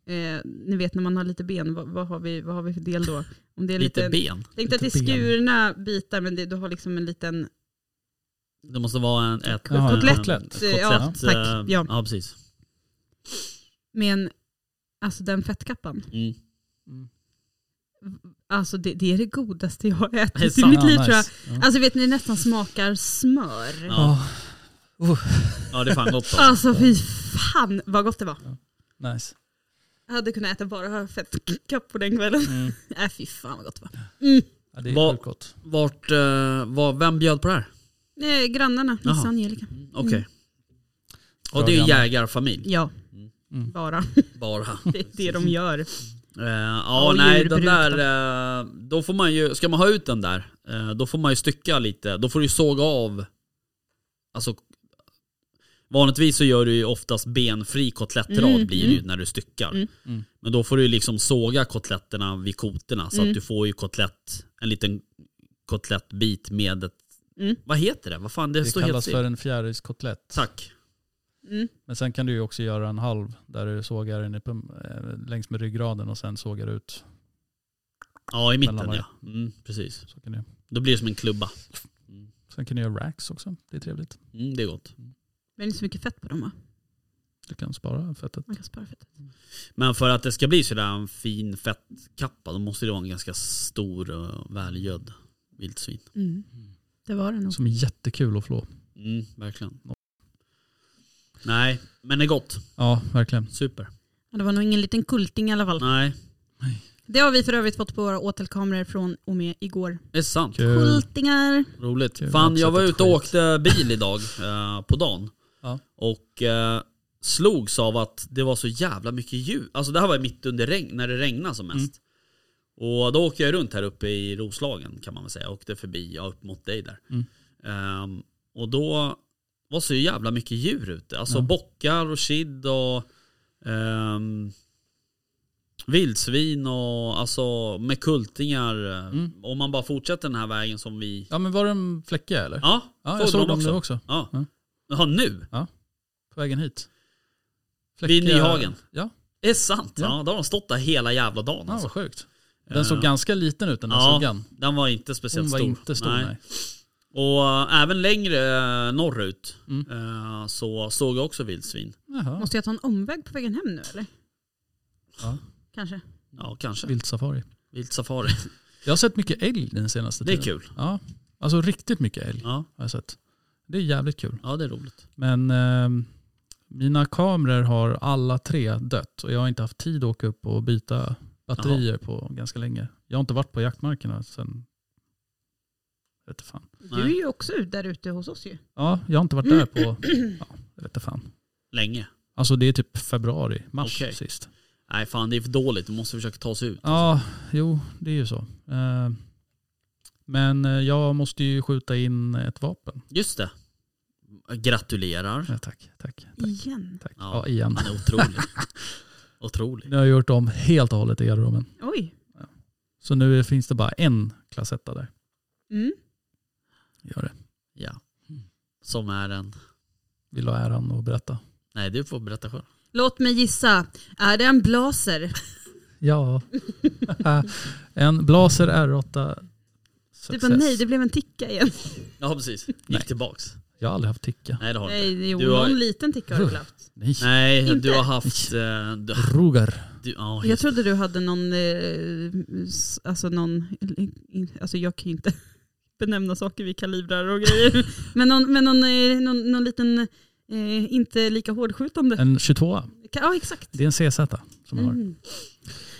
Speaker 2: eh, ni vet när man har lite ben, vad, vad, har, vi, vad har vi för del då? Om det är
Speaker 3: Lite,
Speaker 2: lite,
Speaker 3: ben.
Speaker 2: Tänk dig att det är
Speaker 4: Lite ben.
Speaker 2: skurna bitar men det, du har liksom en liten,
Speaker 3: Det måste vara en, ett,
Speaker 4: Jaha,
Speaker 2: kotlett.
Speaker 3: kotlett,
Speaker 2: Ja, tack.
Speaker 3: eh,
Speaker 2: Ja.
Speaker 3: ja, precis.
Speaker 2: med en, alltså den fettkappan.
Speaker 3: Mm.
Speaker 2: Alltså det, det är det godaste jag har
Speaker 3: Det är
Speaker 2: ätit i
Speaker 3: sant.
Speaker 2: mitt liv
Speaker 4: Ja,
Speaker 2: tror jag.
Speaker 4: nice.
Speaker 2: Alltså vet ni, det nästan smakar smör.
Speaker 3: Ja.
Speaker 4: Ja.
Speaker 3: Ja det är fan gott alltså.
Speaker 2: Alltså fy fan vad gott det var.
Speaker 4: Ja, nice.
Speaker 2: Jag hade kunnat äta bara fettkapp på den kvällen. *laughs*
Speaker 4: Mm.
Speaker 2: Nej fy fan vad gott det var.
Speaker 4: Ja, det är
Speaker 3: Vad-
Speaker 4: sjukt gott.
Speaker 3: Vart, eh, var, vem bjöd på det här?
Speaker 2: Nej, Eh, grannarna, Nisse
Speaker 3: Jaha.
Speaker 2: och Angelica.
Speaker 4: Mm.
Speaker 3: Okej.
Speaker 2: Mm.
Speaker 3: Och det är ju
Speaker 4: Frågan.
Speaker 3: jägarfamilj,
Speaker 2: Ja,
Speaker 4: Mm. *laughs*
Speaker 2: bara.
Speaker 3: bara.
Speaker 2: Det är det de gör.
Speaker 3: Eh, ja,
Speaker 2: Och
Speaker 3: nej, den
Speaker 2: djurbruk
Speaker 3: där, eh, då får man ju, ska man ha ut den där, eh, då får man ju stycka lite, då får du ju såga av, alltså vanligtvis så gör du ju oftast benfri kottlettrad
Speaker 2: Mm,
Speaker 3: blir det ju när du styckar.
Speaker 2: Mm.
Speaker 4: Mm.
Speaker 3: Men då får du ju liksom såga kotletterna vid koterna så
Speaker 2: Mm.
Speaker 3: att du får ju kotlett, en liten kotlettbit med ett,
Speaker 2: Mm.
Speaker 3: vad heter det? Vad fan det,
Speaker 4: Det
Speaker 3: står
Speaker 4: kallas
Speaker 3: helt
Speaker 4: för
Speaker 3: för...
Speaker 4: en fjärilskotlett.
Speaker 3: Tack.
Speaker 2: Mm.
Speaker 4: Men sen kan du ju också göra en halv där du sågar in i pum- eh, längs med ryggraden och sen sågar ut.
Speaker 3: Ja i mitten
Speaker 4: Mellan
Speaker 3: ja. Mm, precis.
Speaker 4: Så kan du.
Speaker 3: Då blir det som en klubba.
Speaker 4: Sen kan du göra racks också. Det är trevligt.
Speaker 3: Mm, det är gott.
Speaker 2: Men det är inte så mycket fett på dem va?
Speaker 4: Du kan spara fettet.
Speaker 2: Man kan spara fettet.
Speaker 3: Men för att det ska bli sådär en fin fettkappa då måste det vara en ganska stor och välgödd vildsvin.
Speaker 2: Mm. Det var det nog.
Speaker 4: Som är jättekul att flå.
Speaker 3: Mm, verkligen. Nej, men det är gott.
Speaker 4: Ja, verkligen.
Speaker 3: Super.
Speaker 2: Ja, Det var nog ingen liten kulting i alla fall.
Speaker 3: Nej,
Speaker 2: Det har vi för övrigt fått på våra åtelkameror från och med igår.
Speaker 3: det är sant.
Speaker 4: Kul.
Speaker 2: Kultingar.
Speaker 3: Roligt.
Speaker 4: Kul,
Speaker 3: Fan,
Speaker 4: jag
Speaker 3: jag
Speaker 4: har
Speaker 3: var
Speaker 4: sett
Speaker 3: ute och
Speaker 4: ett
Speaker 3: åkte bil idag *laughs* eh, på dagen.
Speaker 4: Ja.
Speaker 3: Och eh, slogs av att det var så jävla mycket ljus. Alltså det här var mitt under regn, när det regnade som
Speaker 4: Mm.
Speaker 3: mest. Och då åkte jag runt här uppe i Roslagen kan man väl säga. Jag åkte förbi, ja, upp mot dig där.
Speaker 4: Mm.
Speaker 3: Ehm, och då var så jävla mycket djur ute. Alltså
Speaker 4: Ja.
Speaker 3: bockar och kid och ehm, vildsvin och alltså med kultingar.
Speaker 4: Mm.
Speaker 3: Om man bara fortsätter den här vägen som vi
Speaker 4: Ja men var det en fläcka eller?
Speaker 3: Ja,
Speaker 4: ja
Speaker 3: såg
Speaker 4: jag såg
Speaker 3: de
Speaker 4: dem
Speaker 3: också.
Speaker 4: nu också.
Speaker 3: Ja.
Speaker 4: Ja.
Speaker 3: Jaha, nu?
Speaker 4: På vägen hit.
Speaker 3: Vid Nyhagen?
Speaker 4: Ja,
Speaker 3: Det är sant. Ja.
Speaker 4: Ja.
Speaker 3: då har de stått där hela jävla dagen
Speaker 4: ja
Speaker 3: alltså.
Speaker 4: vad sjukt. Den såg
Speaker 3: Eh,
Speaker 4: ganska liten ut den där
Speaker 3: ja,
Speaker 4: suggan.
Speaker 3: Den var inte
Speaker 4: Hon
Speaker 3: speciellt
Speaker 4: var
Speaker 3: stor.
Speaker 4: inte stor nej.
Speaker 3: Och äh, även längre äh, norrut
Speaker 4: Mm.
Speaker 3: äh, så såg jag också vildsvin.
Speaker 4: Jaha,
Speaker 2: Måste jag ta en omväg på vägen hem nu eller?
Speaker 4: Ja.
Speaker 2: Kanske.
Speaker 3: Ja, kanske.
Speaker 4: viltsafari.
Speaker 3: Vilt safari.
Speaker 4: Jag har sett mycket älg den senaste
Speaker 3: Det är
Speaker 4: tiden.
Speaker 3: kul.
Speaker 4: Ja, alltså riktigt mycket älg
Speaker 3: Ja,
Speaker 4: har jag sett. Det är jävligt kul.
Speaker 3: ja det är roligt.
Speaker 4: Men ehm, mina kameror har alla tre dött och jag har inte haft tid att åka upp och byta batterier på ganska länge. Jag har inte varit på jaktmarkerna sen... Jag vet inte fan.
Speaker 2: Du är ju också ut- där ute hos oss ju.
Speaker 4: Ja, jag har inte varit där på... Ja, jag vet inte fan.
Speaker 3: Länge.
Speaker 4: Alltså det är typ februari, mars
Speaker 3: Okej.
Speaker 4: sist.
Speaker 3: Nej fan det är för dåligt, vi måste försöka ta oss ut.
Speaker 4: Ja, jo det är ju så. Eh, Men eh, jag måste ju skjuta in ett vapen.
Speaker 3: Just det. Gratulerar.
Speaker 4: Ja, tack, tack, tack.
Speaker 2: Igen.
Speaker 4: tack.
Speaker 3: Ja.
Speaker 4: Ja, igen.
Speaker 3: Han är otrolig.
Speaker 4: *laughs*
Speaker 3: otrolig.
Speaker 4: Nu har jag gjort om helt och hållet i garderoben.
Speaker 2: Oj.
Speaker 4: Så nu finns det bara en klassetta där.
Speaker 2: Mm.
Speaker 4: Gör det.
Speaker 3: Ja. Som är en...
Speaker 4: Vill du ha äran att berätta?
Speaker 3: Nej du får berätta själv.
Speaker 2: Låt mig gissa. Är det en blaser?
Speaker 4: Ja. *laughs* en Blaser R8
Speaker 2: Du
Speaker 4: Success.
Speaker 2: bara nej, det blev en ticka igen.
Speaker 3: Ja precis. Gick
Speaker 4: Nej.
Speaker 3: tillbaks.
Speaker 4: Jag har aldrig haft ticka.
Speaker 3: Nej det har du inte.
Speaker 2: Nej, jo,
Speaker 3: Du har-
Speaker 2: någon liten ticka har du väl haft.
Speaker 4: Nej.
Speaker 3: Nej,
Speaker 2: Inte?
Speaker 3: du har haft... eh, Du,
Speaker 4: Roger.
Speaker 3: du, ja,
Speaker 2: Jag
Speaker 3: just-
Speaker 2: trodde du hade någon, eh, s- alltså någon, alltså jag kan ju inte *laughs* benämna saker vid kalibrar och grejer.
Speaker 4: *laughs*
Speaker 2: Men någon, men någon, eh, någon, någon liten, eh, inte lika hårdskjutande.
Speaker 4: En 22
Speaker 2: Ka- Ja exakt.
Speaker 4: Mm. Det är en CZ som jag har.
Speaker 2: Mm.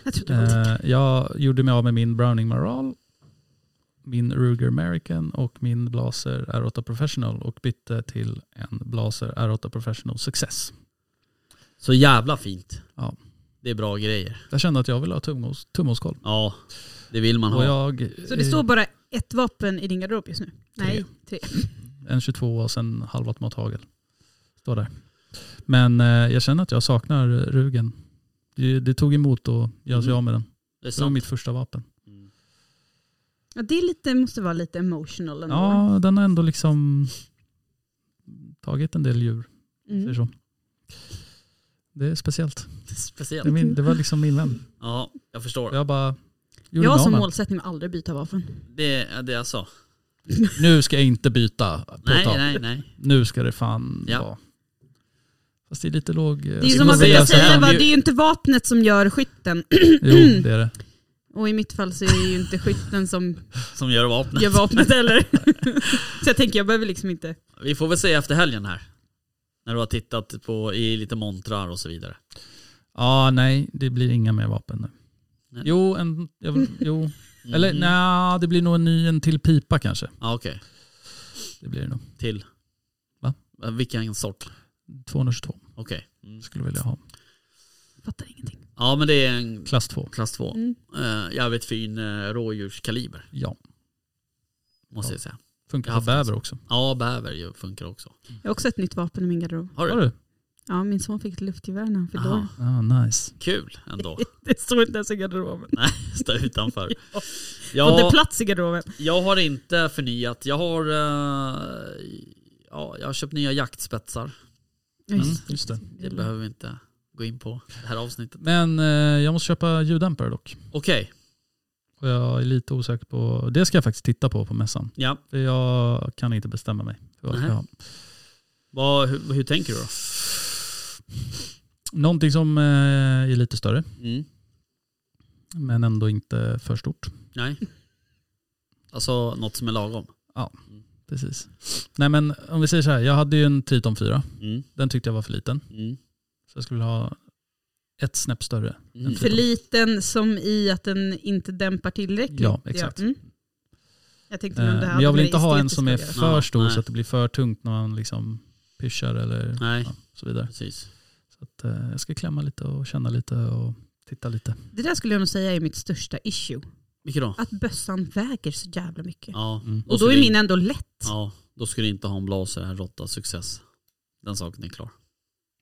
Speaker 2: Jag trodde det var en ticka.
Speaker 4: Eh, jag gjorde mig av med min Browning Maral, min Ruger American och min Blaser R8 Professional och bytte till en Blaser R8 Professional Success.
Speaker 3: Så jävla fint.
Speaker 4: Ja.
Speaker 3: Det är bra grejer.
Speaker 4: Jag kände att jag ville ha tumhåls- tumhålskoll.
Speaker 3: Ja, det vill man
Speaker 4: Och
Speaker 3: ha.
Speaker 4: jag,
Speaker 2: Så det
Speaker 4: eh,
Speaker 2: står bara ett vapen i din garderob just nu? Nej, tre.
Speaker 4: eh, En 22 och sen halvautomat hagel. Står där. Men eh, jag känner att jag saknar rugen. Det, det tog emot att göra sig
Speaker 3: Mm.
Speaker 4: av med den.
Speaker 3: det är
Speaker 4: Det var
Speaker 3: sant.
Speaker 4: mitt första vapen.
Speaker 3: Mm. *laughs*
Speaker 2: Ja, det är lite, måste vara lite emotional ändå.
Speaker 4: Ja, den har ändå liksom tagit en del djur.
Speaker 2: Mm.
Speaker 4: Säger så. Det är speciellt.
Speaker 3: Speciellt.
Speaker 4: Det, är min, det var liksom min vän.
Speaker 3: Ja, jag förstår.
Speaker 4: Jag bara... gjorde
Speaker 2: Jag har
Speaker 4: mig av
Speaker 2: som
Speaker 4: med.
Speaker 2: målsättning att aldrig byta vapen.
Speaker 3: Det är det jag sa.
Speaker 4: Nu ska jag inte byta på ett
Speaker 3: *laughs* Nej,
Speaker 4: tag.
Speaker 3: nej, nej.
Speaker 4: Nu ska det fan
Speaker 3: Ja.
Speaker 4: vara. Fast det är lite låg...
Speaker 2: Det är ju som
Speaker 3: man
Speaker 2: man brukar
Speaker 3: säga så här,
Speaker 2: säga,
Speaker 3: om
Speaker 2: va, det
Speaker 3: ju-
Speaker 2: är ju inte vapnet som gör skytten.
Speaker 4: Jo, det är det.
Speaker 2: Och i mitt fall så är det ju inte skytten som
Speaker 3: Som gör vapnet.
Speaker 2: gör
Speaker 4: *laughs*
Speaker 2: vapnet heller. Så jag tänker jag behöver liksom inte.
Speaker 3: Vi får väl se efter helgen här. När du har tittat på i lite montrar och så vidare.
Speaker 4: Ja, nej, det blir inga mer vapen nu.
Speaker 3: Nej. Mm.
Speaker 4: Jo, en... Jag,
Speaker 3: *laughs*
Speaker 4: jo. Eller nja, det blir nog en ny, en till pipa kanske.
Speaker 3: Ja, okej.
Speaker 4: Det blir det nog.
Speaker 3: Till?
Speaker 4: Va?
Speaker 3: Eh, Vilken sort?
Speaker 4: 222
Speaker 3: Okej. Mm.
Speaker 4: skulle jag vilja ha.
Speaker 2: Fattar ingenting.
Speaker 3: Ja men det är en
Speaker 4: Klass 2.
Speaker 3: klass 2.
Speaker 2: Mm.
Speaker 3: Eh, jävligt fin eh, rådjurskaliber
Speaker 4: Ja,
Speaker 3: måste
Speaker 4: Ja.
Speaker 3: jag säga. Jag
Speaker 4: funkar
Speaker 3: har
Speaker 4: för
Speaker 3: haft
Speaker 4: bäver också.
Speaker 3: Ja bäver ju funkar också.
Speaker 2: Jag har också ett nytt vapen i min garderob.
Speaker 3: Har du?
Speaker 4: Har du?
Speaker 2: Ja, min son fick ett luftgevär när han fyllde år.
Speaker 3: Aha,
Speaker 4: Ah, nice.
Speaker 3: kul ändå.
Speaker 2: *laughs* Det står inte ens i garderoben.
Speaker 3: Stå utanför.
Speaker 2: Får inte
Speaker 3: Jag,
Speaker 2: plats i garderoben.
Speaker 3: jag har inte förnyat. Jag har, eh, ja, jag har köpt nya jaktspetsar.
Speaker 2: Ja,
Speaker 4: Mm, just det.
Speaker 3: Det behöver vi inte gå in på det här avsnittet.
Speaker 4: Men eh, jag måste köpa ljuddämpare dock.
Speaker 3: Okej,
Speaker 4: Och jag är lite osäker på... Det ska jag faktiskt titta på på mässan.
Speaker 3: ja.
Speaker 4: För jag kan inte bestämma mig. För vad jag ska
Speaker 3: Nej.
Speaker 4: ha.
Speaker 3: Vad, hur, hur tänker du då?
Speaker 4: Någonting som eh, är lite större,
Speaker 3: Mm.
Speaker 4: men ändå inte för stort.
Speaker 3: Nej. Alltså något som är lagom.
Speaker 4: Precis. Nej men om vi säger så här, jag hade ju en Triton 4.
Speaker 3: Mm.
Speaker 4: Den tyckte jag var för liten.
Speaker 3: Mm.
Speaker 4: Så jag skulle ha ett snäpp större.
Speaker 3: Mm.
Speaker 2: För liten som i att den inte dämpar tillräckligt.
Speaker 4: Ja, exakt.
Speaker 2: Mm. Jag tänkte
Speaker 4: Eh,
Speaker 2: om det här
Speaker 4: men jag
Speaker 2: hade med
Speaker 4: vill inte ha en som är
Speaker 2: estetiskt att
Speaker 4: för
Speaker 3: Ja,
Speaker 4: stor
Speaker 3: nej.
Speaker 4: så att det blir för tungt när man liksom pyschar eller
Speaker 3: Nej,
Speaker 4: ja, så vidare.
Speaker 3: precis.
Speaker 4: Så att, eh, jag ska klämma lite och känna lite och titta lite.
Speaker 2: göra. Det där skulle jag nog säga är mitt största issue.
Speaker 3: Vilket då?
Speaker 2: Att bössan väger så jävla mycket.
Speaker 3: Ja,
Speaker 4: Mm.
Speaker 2: Och då
Speaker 3: skulle
Speaker 2: är
Speaker 3: vi-
Speaker 2: min ändå lätt.
Speaker 3: Ja, då skulle du inte ha en blaser här råtta success. Den saken är klar.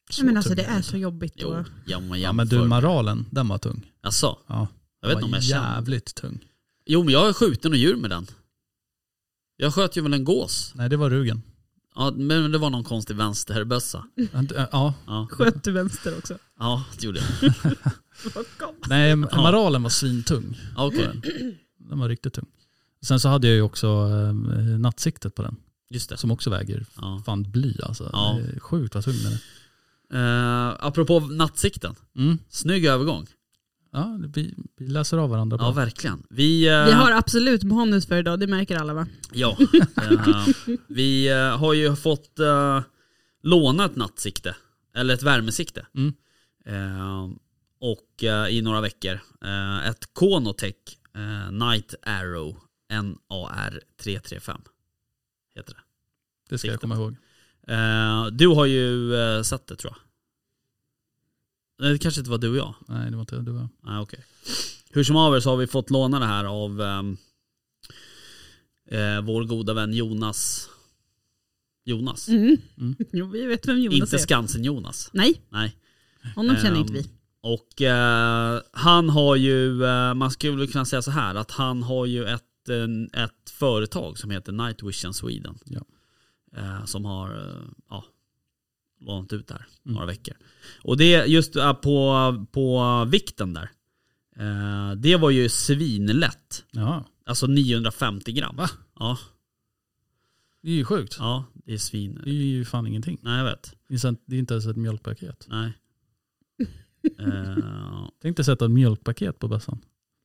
Speaker 4: Så
Speaker 2: Nej, men alltså
Speaker 4: tung
Speaker 2: det
Speaker 4: den.
Speaker 2: är så jobbigt
Speaker 3: Jo,
Speaker 2: då.
Speaker 3: ja, man jämför.
Speaker 4: Ja men du maralen, den var tung.
Speaker 3: Jaså?
Speaker 4: Ja,
Speaker 3: jag vet inte
Speaker 4: den
Speaker 3: om
Speaker 4: var
Speaker 3: jag känner.
Speaker 4: jävligt tung.
Speaker 3: Jo men jag har skjutit något djur med den. Jag sköt ju väl en gås.
Speaker 4: Nej det
Speaker 3: *laughs*
Speaker 4: var rugen.
Speaker 3: Ja, men det var någon konstig vänsterbössa.
Speaker 4: Ja,
Speaker 3: Ja,
Speaker 2: Sköt du vänster också? *laughs*
Speaker 3: ja det gjorde jag.
Speaker 4: nej maralen var svintung.
Speaker 3: Ja, Okej,
Speaker 4: Den var riktigt tung. Sen så hade jag ju också eh, nattsiktet på den.
Speaker 3: just det.
Speaker 4: Som också väger
Speaker 3: Ja.
Speaker 4: fan bly alltså.
Speaker 3: Ja.
Speaker 4: Det är Sjukt vad tung den är.
Speaker 3: Eh, apropå nattsikten,
Speaker 4: Mm.
Speaker 3: snygg övergång.
Speaker 4: Ja, vi, vi läser av varandra
Speaker 3: Ja
Speaker 4: bra.
Speaker 3: verkligen. Vi, eh,
Speaker 2: Vi har absolut bonus för idag, det märker alla va?
Speaker 3: Ja. Eh, vi eh, har ju fått eh, låna ett nattsikte. Eller ett värmesikte.
Speaker 4: Mm.
Speaker 3: Eh, och eh, i några veckor. Eh, ett Konotech eh, Night Arrow NAR 335. Heter det.
Speaker 4: det ska jag komma ihåg.
Speaker 3: Eh, du har ju eh, sett det tror jag. Nej, Det kanske inte var du och jag.
Speaker 4: Nej, det var inte det var.
Speaker 3: Nej, Ah, okej. Hur som haver så har vi fått låna det här av ehm, eh, vår goda vän Jonas. Jonas?
Speaker 2: Mm.
Speaker 4: Mm.
Speaker 2: Jo, vi vet vem Jonas
Speaker 3: inte
Speaker 2: är.
Speaker 3: Skansen-Jonas.
Speaker 2: Nej,
Speaker 3: Nej.
Speaker 2: honom känner
Speaker 3: Ehm,
Speaker 2: inte vi.
Speaker 3: Och eh, han har ju, eh, man skulle kunna säga så här att han har ju ett, en- ett företag som heter Night Vision Sweden.
Speaker 4: Ja.
Speaker 3: Eh, som har eh, ja, lånat ut det här
Speaker 4: Mm.
Speaker 3: några veckor. Och det just eh, på, på vikten där. Eh, det var ju svinlätt.
Speaker 4: Ja,
Speaker 3: Alltså 950 gram.
Speaker 4: Va?
Speaker 3: Ja,
Speaker 4: det är ju sjukt.
Speaker 3: ja, det är
Speaker 4: Det är
Speaker 3: svin.
Speaker 4: ju fan ingenting.
Speaker 3: Nej jag vet.
Speaker 4: Det är sant- det är inte ens ett mjölkpaket.
Speaker 3: Nej. Eh,
Speaker 4: Tänk dig sätta ett mjölkpaket på bössan.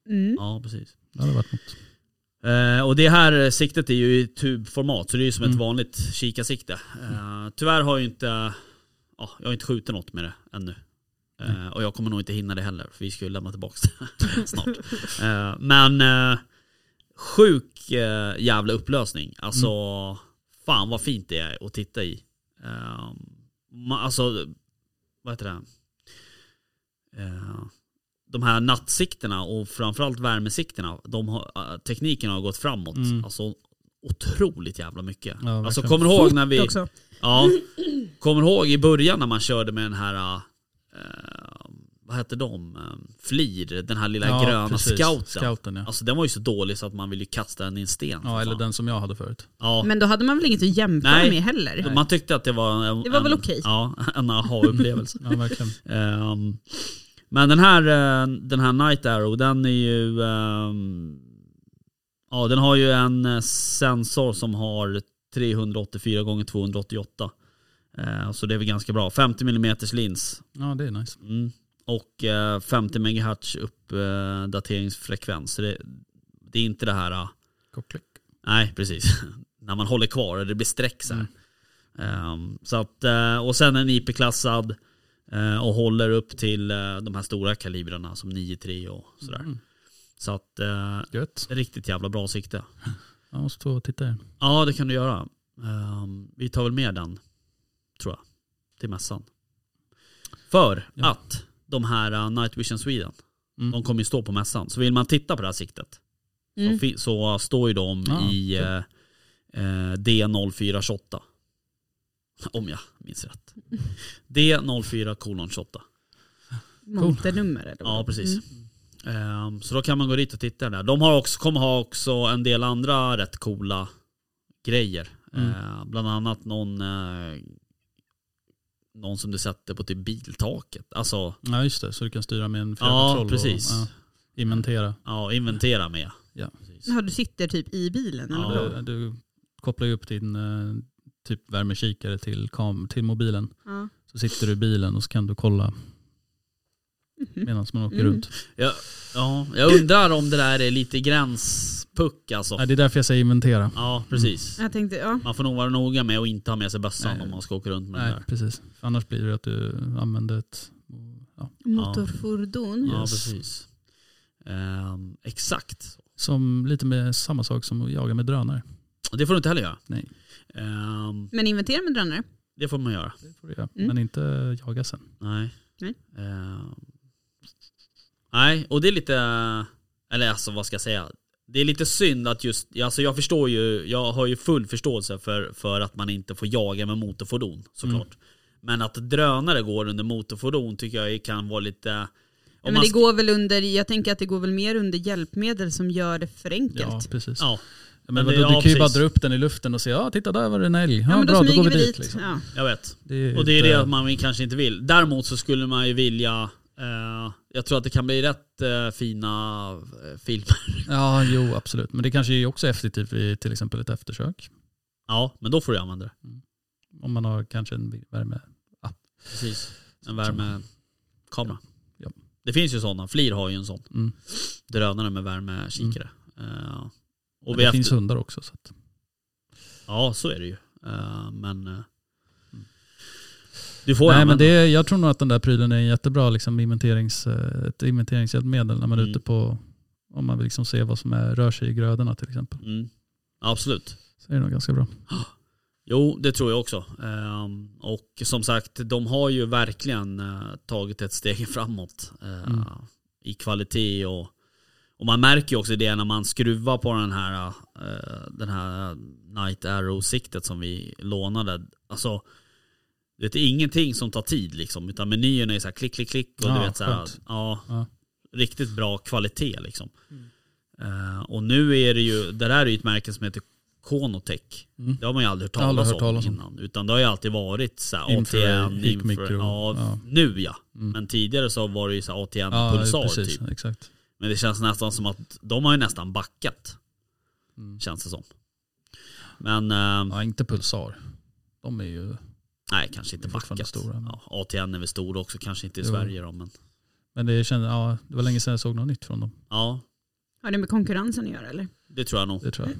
Speaker 2: Mm.
Speaker 3: ja precis.
Speaker 4: Det hade varit något.
Speaker 3: Eh, och det här siktet är ju i tubformat så det är ju som ett
Speaker 4: Mm.
Speaker 3: vanligt kikarsikte. Eh, tyvärr har jag ju inte, ja, jag har inte skjutit något med det ännu. Eh, och jag kommer nog inte hinna det heller för vi ska ju lämna tillbaka det
Speaker 2: *laughs*
Speaker 3: snart. Eh, men eh, sjuk eh, jävla upplösning. Alltså
Speaker 4: Mm.
Speaker 3: fan vad fint det är att titta i. Eh, ma- alltså, vad heter det? Eh, de här nattsikterna och framförallt värmesikterna, de har, eh, tekniken har gått framåt.
Speaker 4: Mm.
Speaker 3: Alltså otroligt jävla mycket.
Speaker 4: Ja,
Speaker 3: alltså
Speaker 4: verkligen.
Speaker 3: kommer du ihåg när vi...
Speaker 2: Också.
Speaker 3: Ja, kommer du ihåg i början när man körde med den här... eh, vad vad hette de? Ehm, Flir, den här lilla
Speaker 4: Ja,
Speaker 3: gröna
Speaker 4: precis.
Speaker 3: scouten.
Speaker 4: Scouten, ja.
Speaker 3: Alltså den var ju så dålig så att man ville ju kasta den i en sten. för
Speaker 4: Ja, eller
Speaker 3: fan.
Speaker 4: den som jag hade förut.
Speaker 3: Ja.
Speaker 2: Men då hade man väl inget att jämföra
Speaker 3: Nej.
Speaker 2: med heller?
Speaker 3: Man tyckte att det var en,
Speaker 2: Det var väl
Speaker 3: en-
Speaker 2: okej.
Speaker 3: Ja, en aha-upplevelse.
Speaker 4: Ja, verkligen.
Speaker 3: Ehm, men den här, eh, den här Night Arrow, den är ju... ehm, ja, den har ju en eh, sensor som har 384 gånger 288. Eh, så det är väl ganska bra. 50 mm lins.
Speaker 4: Ja, det är nice.
Speaker 3: Mm. Och eh, 50 MHz uppdateringsfrekvens. Så det, det är inte det här... eh,
Speaker 4: Kocklick.
Speaker 3: Nej, precis. *laughs* När man håller kvar och det blir streck så här.
Speaker 4: Mm.
Speaker 3: Ehm, så att, eh, och sen en IP-klassad eh, och håller upp till eh, de här stora kalibrarna som 9.3 och sådär.
Speaker 4: Mm.
Speaker 3: Så att eh,
Speaker 4: Gött.
Speaker 3: riktigt jävla bra sikte.
Speaker 4: Jag måste stå och titta här.
Speaker 3: Ja, det kan du göra. Ehm, vi tar väl med den, tror jag, till mässan. För
Speaker 4: Ja.
Speaker 3: att de här eh, Night Vision Sweden,
Speaker 4: Mm.
Speaker 3: de kommer ju stå på mässan. Så vill man titta på det här siktet
Speaker 2: Mm.
Speaker 3: så, fi- så står ju de
Speaker 4: Ah,
Speaker 3: i
Speaker 4: kul.
Speaker 3: eh, eh, D0428. Om jag minns rätt. *laughs* D04 kolon 28.
Speaker 2: Monternummer eller vad? Mm.
Speaker 3: Ja, precis.
Speaker 4: Mm.
Speaker 3: Ehm, så då kan man gå dit och titta där. De har också, kommer ha också en del andra rätt coola grejer.
Speaker 4: Mm.
Speaker 3: Eh, bland annat någon, eh, någon som du sätter på typ biltaket. Alltså,
Speaker 4: Ja, just det. Så du kan styra med en
Speaker 3: ja
Speaker 4: fjärrkontroll.
Speaker 3: precis.
Speaker 4: Och, ja, inventera.
Speaker 3: Ja, inventera med.
Speaker 4: Ja.
Speaker 3: Precis.
Speaker 2: Ja, du sitter typ i bilen eller
Speaker 3: Ja.
Speaker 2: vadå?
Speaker 4: Du, du kopplar ju upp din eh, typ värmekikare till, kam- till mobilen.
Speaker 2: Ja.
Speaker 4: Så sitter du i bilen och så kan du kolla
Speaker 2: Mhm.
Speaker 4: medan man åker
Speaker 2: Mm.
Speaker 4: runt.
Speaker 3: Jag, ja, jag undrar om det där är lite gränspuck alltså.
Speaker 4: Nej, det är därför jag säger inventera.
Speaker 3: Ja, precis.
Speaker 2: Jag tänkte, ja.
Speaker 3: Man får nog vara noga med att inte ha med sig bössan
Speaker 4: Nej.
Speaker 3: om man ska åka runt med den
Speaker 4: Nej,
Speaker 3: där.
Speaker 4: precis. För annars blir det att du använder ett... Ja.
Speaker 2: Motorfordon.
Speaker 3: Ja,
Speaker 4: Yes.
Speaker 3: precis. Ehm, exakt.
Speaker 4: Som lite med samma sak som att jaga med drönare.
Speaker 3: Och Det får du inte heller göra.
Speaker 4: Nej.
Speaker 3: Ehm,
Speaker 2: Men inventera med drönare.
Speaker 3: det får man göra.
Speaker 4: Det får du göra.
Speaker 2: Mm.
Speaker 4: Men inte jaga sen.
Speaker 3: Nej.
Speaker 2: Nej.
Speaker 3: Ehm, nej, och det är lite... Eller alltså vad ska jag säga? Det är lite synd att just... Alltså jag förstår ju... Jag har ju full förståelse för, för att man inte får jaga med motorfordon såklart.
Speaker 4: Mm.
Speaker 3: Men att drönare går under motorfordon tycker jag kan vara lite... Om
Speaker 2: Ja, men
Speaker 3: man
Speaker 2: det
Speaker 3: sk-
Speaker 2: går väl under, jag tänker att det går väl mer under hjälpmedel som gör det för enkelt.
Speaker 4: Ja,
Speaker 2: Ja,
Speaker 4: precis.
Speaker 3: Ja.
Speaker 4: Ja,
Speaker 3: Men
Speaker 4: men
Speaker 3: det-
Speaker 4: vadå, du
Speaker 3: ja,
Speaker 4: kan ju bara
Speaker 3: precis.
Speaker 4: dra upp den i luften och säga ja titta där var det en älg. Ja,
Speaker 2: men
Speaker 4: bra,
Speaker 2: då
Speaker 4: då, går
Speaker 2: smyger
Speaker 4: vi
Speaker 2: vi
Speaker 4: dit.
Speaker 2: dit.
Speaker 4: Liksom.
Speaker 2: Ja.
Speaker 3: Jag vet.
Speaker 4: är
Speaker 3: Och det är
Speaker 4: inte-
Speaker 3: det att man kanske inte vill. Däremot så skulle man ju vilja... Eh, jag tror att det kan bli rätt eh, fina eh, filmer. *laughs*
Speaker 4: Ja, jo absolut. Men det kanske är också effektivt vid till exempel ett eftersök.
Speaker 3: Ja, men då får du använda det.
Speaker 4: Om man har kanske en värme. Mm.
Speaker 3: Precis. En värmekamera.
Speaker 4: Ja.
Speaker 3: Det finns ju sådana. Flir har ju en sån.
Speaker 4: Mm.
Speaker 3: Drönare med värmekikare. Eh,
Speaker 4: Och
Speaker 3: och vi
Speaker 4: Mm. det
Speaker 3: efter...
Speaker 4: finns hundar också. Så att,
Speaker 3: Ja, så är det ju. Eh, men... eh, du får
Speaker 4: nej, men
Speaker 3: använda.
Speaker 4: det, är- jag tror nog att den där prylen är en jättebra liksom, inventerings, eh, ett inventeringshjälpmedel när man är
Speaker 3: Mm.
Speaker 4: ute på, om man vill liksom se vad som är, rör sig i grödorna till exempel.
Speaker 3: Mm. Absolut.
Speaker 4: Så är det nog ganska bra.
Speaker 3: Jo, det tror jag också. Ehm, Och som sagt, de har ju verkligen eh, tagit ett steg *laughs* framåt eh,
Speaker 4: Mm.
Speaker 3: i kvalitet och, och man märker ju också det när man skruvar på den här, eh, den här Night Arrow-siktet som vi lånade. Alltså, det är ingenting som tar tid liksom, utan menyerna är så här klick, klick, klick och du
Speaker 4: Ja,
Speaker 3: vet så här,
Speaker 4: skönt.
Speaker 3: ja,
Speaker 4: Ja.
Speaker 3: riktigt bra kvalitet liksom. Eh, och nu är det ju, det där är ju ett märke som heter Konotech.
Speaker 4: Mm.
Speaker 3: Det har man ju aldrig hört
Speaker 4: Jag har aldrig
Speaker 3: talas,
Speaker 4: hört talas
Speaker 3: om
Speaker 4: om.
Speaker 3: innan. Utan det har ju alltid varit så här
Speaker 4: Infrared,
Speaker 3: ATN,
Speaker 4: Hikmikro,
Speaker 3: infra, ja,
Speaker 4: ja.
Speaker 3: nu ja.
Speaker 4: Mm.
Speaker 3: Men tidigare så var det ju så här ATN
Speaker 4: Ja,
Speaker 3: pulsar
Speaker 4: precis.
Speaker 3: typ.
Speaker 4: Exakt.
Speaker 3: Men det känns nästan som att de har ju nästan backat.
Speaker 4: Mm.
Speaker 3: Känns det som. Men eh,
Speaker 4: Ja, inte pulsar. De är ju,
Speaker 3: nej, kanske inte
Speaker 4: Det är fortfarande
Speaker 3: backat.
Speaker 4: stora, men-
Speaker 3: ja, ATN är väl stor också, kanske inte i
Speaker 4: Jo.
Speaker 3: Sverige då, men
Speaker 4: men det, känns, ja, det var länge sedan jag såg något nytt från dem.
Speaker 3: ja,
Speaker 2: Har det med konkurrensen att göra eller?
Speaker 3: det tror jag nog.
Speaker 4: Det tror jag.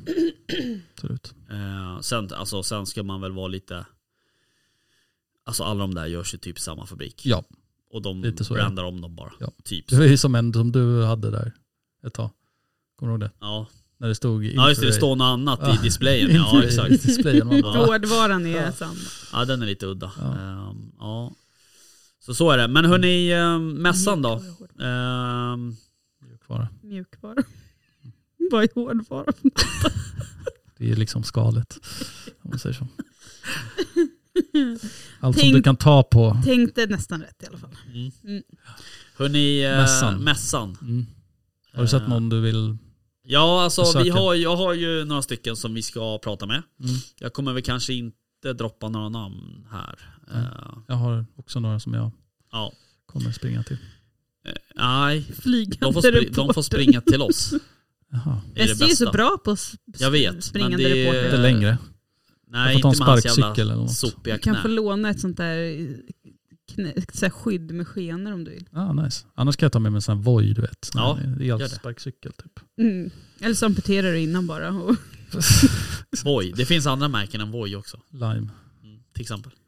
Speaker 4: Absolut.
Speaker 3: Eh, sen, alltså, sen ska man väl vara lite... Alltså alla de där görs ju typ i samma fabrik.
Speaker 4: Ja,
Speaker 3: Och de
Speaker 4: lite så är det.
Speaker 3: brandar om dem bara.
Speaker 4: Ja.
Speaker 3: Typ.
Speaker 4: det var ju som en som du hade där ett tag. Kommer du ihåg det?
Speaker 3: Ja.
Speaker 4: När det stod
Speaker 3: ja just det, det står något annat
Speaker 4: Ja.
Speaker 3: i displayen. Ja exakt. *laughs*
Speaker 4: Displayen, man bara,
Speaker 3: Ja.
Speaker 2: Hårdvaran är samma.
Speaker 3: ja den är lite udda.
Speaker 4: Ja.
Speaker 3: Ehm, ja. Så så är det. Men hörni, eh, mässan då? Ehm,
Speaker 4: "Det är kvar."
Speaker 2: Mjukvara. *laughs* Vad är hårdvara?
Speaker 3: *laughs*
Speaker 4: det är liksom skalet. Om man säger så. Allt som
Speaker 2: Tänk-
Speaker 4: du kan ta på.
Speaker 2: Tänkte nästan rätt i alla fall.
Speaker 3: Hörrni, eh,
Speaker 4: Mässan.
Speaker 3: mässan.
Speaker 4: Mm. Har du sett
Speaker 3: Eh,
Speaker 4: någon du vill...
Speaker 3: Ja, alltså vi
Speaker 4: Besöken.
Speaker 3: har, jag har ju några stycken som vi ska prata med.
Speaker 4: Mm.
Speaker 3: Jag kommer väl kanske inte droppa några namn här.
Speaker 4: Nej.
Speaker 3: Eh,
Speaker 4: Jag har också några som jag
Speaker 3: ja.
Speaker 4: kommer springa till.
Speaker 3: Eh, nej,
Speaker 2: Flygande
Speaker 3: de får, spri-
Speaker 2: reporter.
Speaker 3: de får springa till oss.
Speaker 4: Jaha,
Speaker 2: *laughs*
Speaker 3: Det är det
Speaker 2: SJ är
Speaker 3: bästa.
Speaker 2: så bra på s-
Speaker 3: Jag vet,
Speaker 2: springande
Speaker 3: men det är-
Speaker 4: inte
Speaker 2: reporter.
Speaker 4: längre.
Speaker 3: Eh, Nej,
Speaker 4: Jag får ta
Speaker 3: inte
Speaker 4: en
Speaker 3: med hans jävla
Speaker 4: sparkcykel eller något.
Speaker 3: sopiga
Speaker 2: Du kan få
Speaker 3: knä.
Speaker 2: låna ett sånt där, eh, knä, ett så här skydd med skenor om du vill.
Speaker 4: Ah, nice. Annars kan jag ta med mig en sån här Voi, du vet.
Speaker 3: Ja, det.
Speaker 4: Elsparkcykel typ. *laughs*
Speaker 2: Mm. Eller så amputerar du innan bara. Och
Speaker 3: Voi. Det finns andra märken än Voi också.
Speaker 4: Lime.
Speaker 3: Mm, till exempel. *laughs*